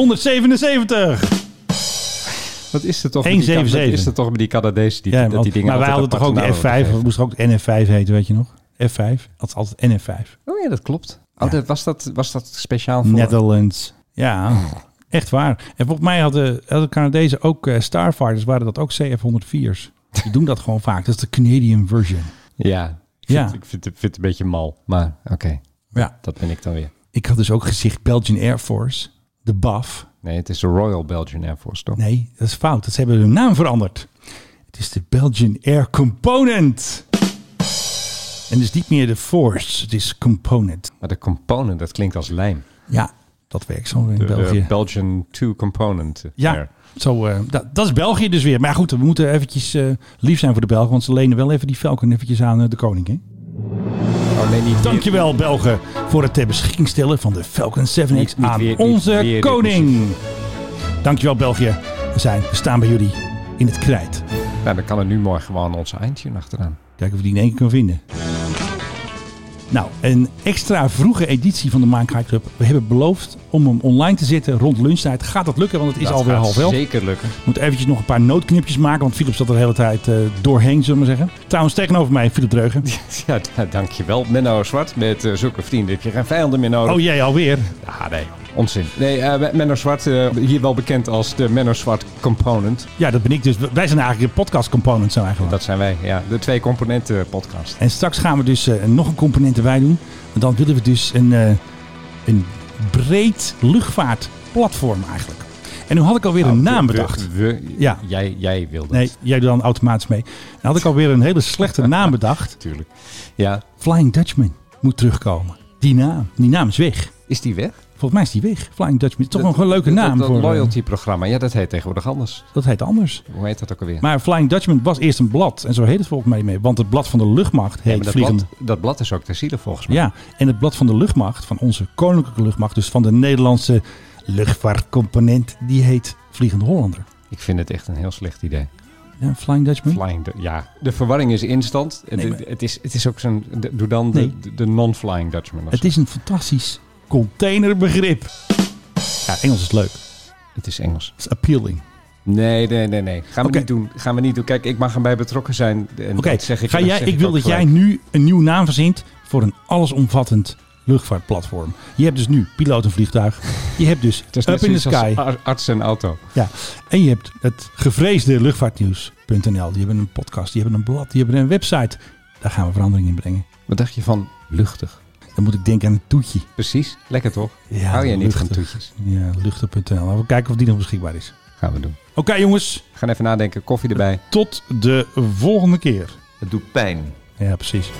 [SPEAKER 2] CC-177.
[SPEAKER 3] Wat is het toch? met die-
[SPEAKER 2] 177.
[SPEAKER 3] Wat is het toch met die Canadezen die,
[SPEAKER 2] Ja,
[SPEAKER 3] dat die
[SPEAKER 2] want-
[SPEAKER 3] dingen
[SPEAKER 2] maar wij hadden
[SPEAKER 3] altijd
[SPEAKER 2] toch ook de
[SPEAKER 3] aparte namen
[SPEAKER 2] F5. We
[SPEAKER 3] worden
[SPEAKER 2] moesten ook de NF5 heten, weet je nog? F5. Dat is altijd NF5.
[SPEAKER 3] gegeven. Oh ja, dat klopt. Oh, dat, was, dat, was dat speciaal voor... Oh.
[SPEAKER 2] Netherlands. Ja, echt waar. En volgens mij hadden, hadden Canadezen ook eh, Starfighters, waren dat ook CF-104's. Die doen dat gewoon vaak. Dat is de Canadian version.
[SPEAKER 3] Ja. Ik vind,
[SPEAKER 2] Ja.
[SPEAKER 3] Ik vind, het- vind het een beetje mal. Maar oké,
[SPEAKER 2] Ja.
[SPEAKER 3] dat ben ik dan weer.
[SPEAKER 2] Ik had dus ook gezegd Belgian Air Force, de BAF.
[SPEAKER 3] Nee, het is de Royal Belgian Air Force, toch?
[SPEAKER 2] Nee, dat is fout. Dat ze hebben hun naam veranderd. Het is de Belgian Air Component. En dus niet meer de Force, het is Component.
[SPEAKER 3] Maar de component, dat klinkt als lijm.
[SPEAKER 2] Ja, dat werkt zo in
[SPEAKER 3] De, eh,
[SPEAKER 2] België.
[SPEAKER 3] Belgian 2 component. eh,
[SPEAKER 2] Ja,
[SPEAKER 3] Air.
[SPEAKER 2] zo, eh, dat, dat is België dus weer. Maar goed, we moeten eventjes eh, lief zijn voor de Belgen. Want ze lenen wel even die Falcon eventjes aan eh, de koning. Hè?
[SPEAKER 3] Oh nee, niet weer.
[SPEAKER 2] Dankjewel Belgen voor het ter beschikking stellen van de Falcon 7X
[SPEAKER 3] Niet- niet
[SPEAKER 2] aan
[SPEAKER 3] weer- niet
[SPEAKER 2] onze
[SPEAKER 3] weer dit
[SPEAKER 2] koning. Dankjewel België. We, zijn, we staan bij jullie in het krijt.
[SPEAKER 3] Nou, dan kan er nu mooi gewoon ons eindje achteraan.
[SPEAKER 2] Kijken of we die in één keer kunnen vinden. Nou, een extra vroege editie van de Minecraft Club. We hebben beloofd om hem online te zetten rond lunchtijd. Gaat dat lukken? Want het is
[SPEAKER 3] Dat
[SPEAKER 2] alweer
[SPEAKER 3] gaat
[SPEAKER 2] half elf.
[SPEAKER 3] Zeker lukken.
[SPEAKER 2] Moet eventjes nog een paar noodknipjes maken, want Philip zat er de hele tijd eh, doorheen, zullen we maar zeggen. Trouwens, tegenover mij, Philip Dreugen.
[SPEAKER 3] Ja, da- dankjewel. Menno Zwart met eh, zulke vrienden. Heb je geen vijanden meer nodig?
[SPEAKER 2] Oh, jij alweer?
[SPEAKER 3] ja, nee. Onzin. Nee, eh, Menno Zwart, eh, hier wel bekend als de Menno Zwart Component.
[SPEAKER 2] Ja, dat ben ik dus. Wij zijn eigenlijk de podcast component, zijn eigenlijk.
[SPEAKER 3] Dat zijn wij, ja. De twee componenten eh, podcast.
[SPEAKER 2] En straks gaan we dus eh, nog een component erbij doen. En dan willen we dus een, eh, een breed luchtvaartplatform eigenlijk. En nu had ik alweer een naam
[SPEAKER 3] We-
[SPEAKER 2] bedacht.
[SPEAKER 3] we- we-
[SPEAKER 2] Ja.
[SPEAKER 3] jij, jij wilde
[SPEAKER 2] Nee, jij doet dan automatisch mee. Dan had ik alweer een hele slechte naam bedacht.
[SPEAKER 3] natuurlijk. Ja.
[SPEAKER 2] Flying Dutchman moet terugkomen. Die naam. Die naam is weg.
[SPEAKER 3] Is die weg?
[SPEAKER 2] Volgens mij is die weg. Flying Dutchman. Toch nog
[SPEAKER 3] Dat-
[SPEAKER 2] een leuke
[SPEAKER 3] dat-
[SPEAKER 2] naam.
[SPEAKER 3] Dat,
[SPEAKER 2] voor, eh,
[SPEAKER 3] loyalty programma. Ja, dat heet tegenwoordig anders.
[SPEAKER 2] dat heet anders.
[SPEAKER 3] Hoe heet dat ook alweer?
[SPEAKER 2] Maar Flying Dutchman was eerst een blad. En zo heet het volgens mij mee. Want het blad van de luchtmacht
[SPEAKER 3] Ja,
[SPEAKER 2] heet
[SPEAKER 3] maar dat,
[SPEAKER 2] Vliegende...
[SPEAKER 3] blad, dat blad is ook ter ziele volgens mij.
[SPEAKER 2] Ja, en het blad van de luchtmacht, van onze koninklijke luchtmacht, dus van de Nederlandse luchtvaartcomponent, die heet Vliegende Hollander.
[SPEAKER 3] Ik vind het echt een heel slecht idee.
[SPEAKER 2] Ja, Flying Dutchman.
[SPEAKER 3] Flying, du- ja. Hm? De verwarring is instant. Het-
[SPEAKER 2] Nee,
[SPEAKER 3] het,
[SPEAKER 2] maar-
[SPEAKER 3] het, is, het is ook zo'n... de- Doe dan de-
[SPEAKER 2] Nee.
[SPEAKER 3] de, de non-flying Dutchman. of
[SPEAKER 2] het
[SPEAKER 3] zo.
[SPEAKER 2] is een fantastisch containerbegrip. Ja, Engels is leuk. Het
[SPEAKER 3] het is Engels.
[SPEAKER 2] is appealing.
[SPEAKER 3] Nee, nee, nee, nee. Gaan we,
[SPEAKER 2] Oké.
[SPEAKER 3] niet doen. Gaan we niet doen. Kijk, ik mag erbij betrokken zijn. En
[SPEAKER 2] Oké,
[SPEAKER 3] dat zeg ik,
[SPEAKER 2] ga
[SPEAKER 3] dat
[SPEAKER 2] jij?
[SPEAKER 3] zeg
[SPEAKER 2] ik wil
[SPEAKER 3] ook
[SPEAKER 2] dat jij
[SPEAKER 3] gelijk.
[SPEAKER 2] nu een nieuwe naam verzint voor een allesomvattend luchtvaartplatform. Je hebt dus nu piloot en vliegtuig. Je hebt dus
[SPEAKER 3] Het is
[SPEAKER 2] Up
[SPEAKER 3] net
[SPEAKER 2] in the
[SPEAKER 3] zoiets als
[SPEAKER 2] Sky.
[SPEAKER 3] ar- Arts en auto.
[SPEAKER 2] Ja, en je hebt het gevreesde luchtvaartnieuws.nl. Die hebben een podcast, die hebben een blad, die hebben een website. Daar gaan we verandering in brengen.
[SPEAKER 3] Wat dacht je van luchtig?
[SPEAKER 2] Dan moet ik denken aan een toetje.
[SPEAKER 3] Precies. Lekker toch?
[SPEAKER 2] Ja,
[SPEAKER 3] Hou jij niet van
[SPEAKER 2] luchtig.
[SPEAKER 3] toetjes?
[SPEAKER 2] Ja, luchten.nl. Laten we kijken of die nog beschikbaar is.
[SPEAKER 3] Gaan we doen.
[SPEAKER 2] Oké jongens,
[SPEAKER 3] We gaan even nadenken. Koffie erbij.
[SPEAKER 2] tot de volgende keer.
[SPEAKER 9] Het doet pijn.
[SPEAKER 2] Ja, precies.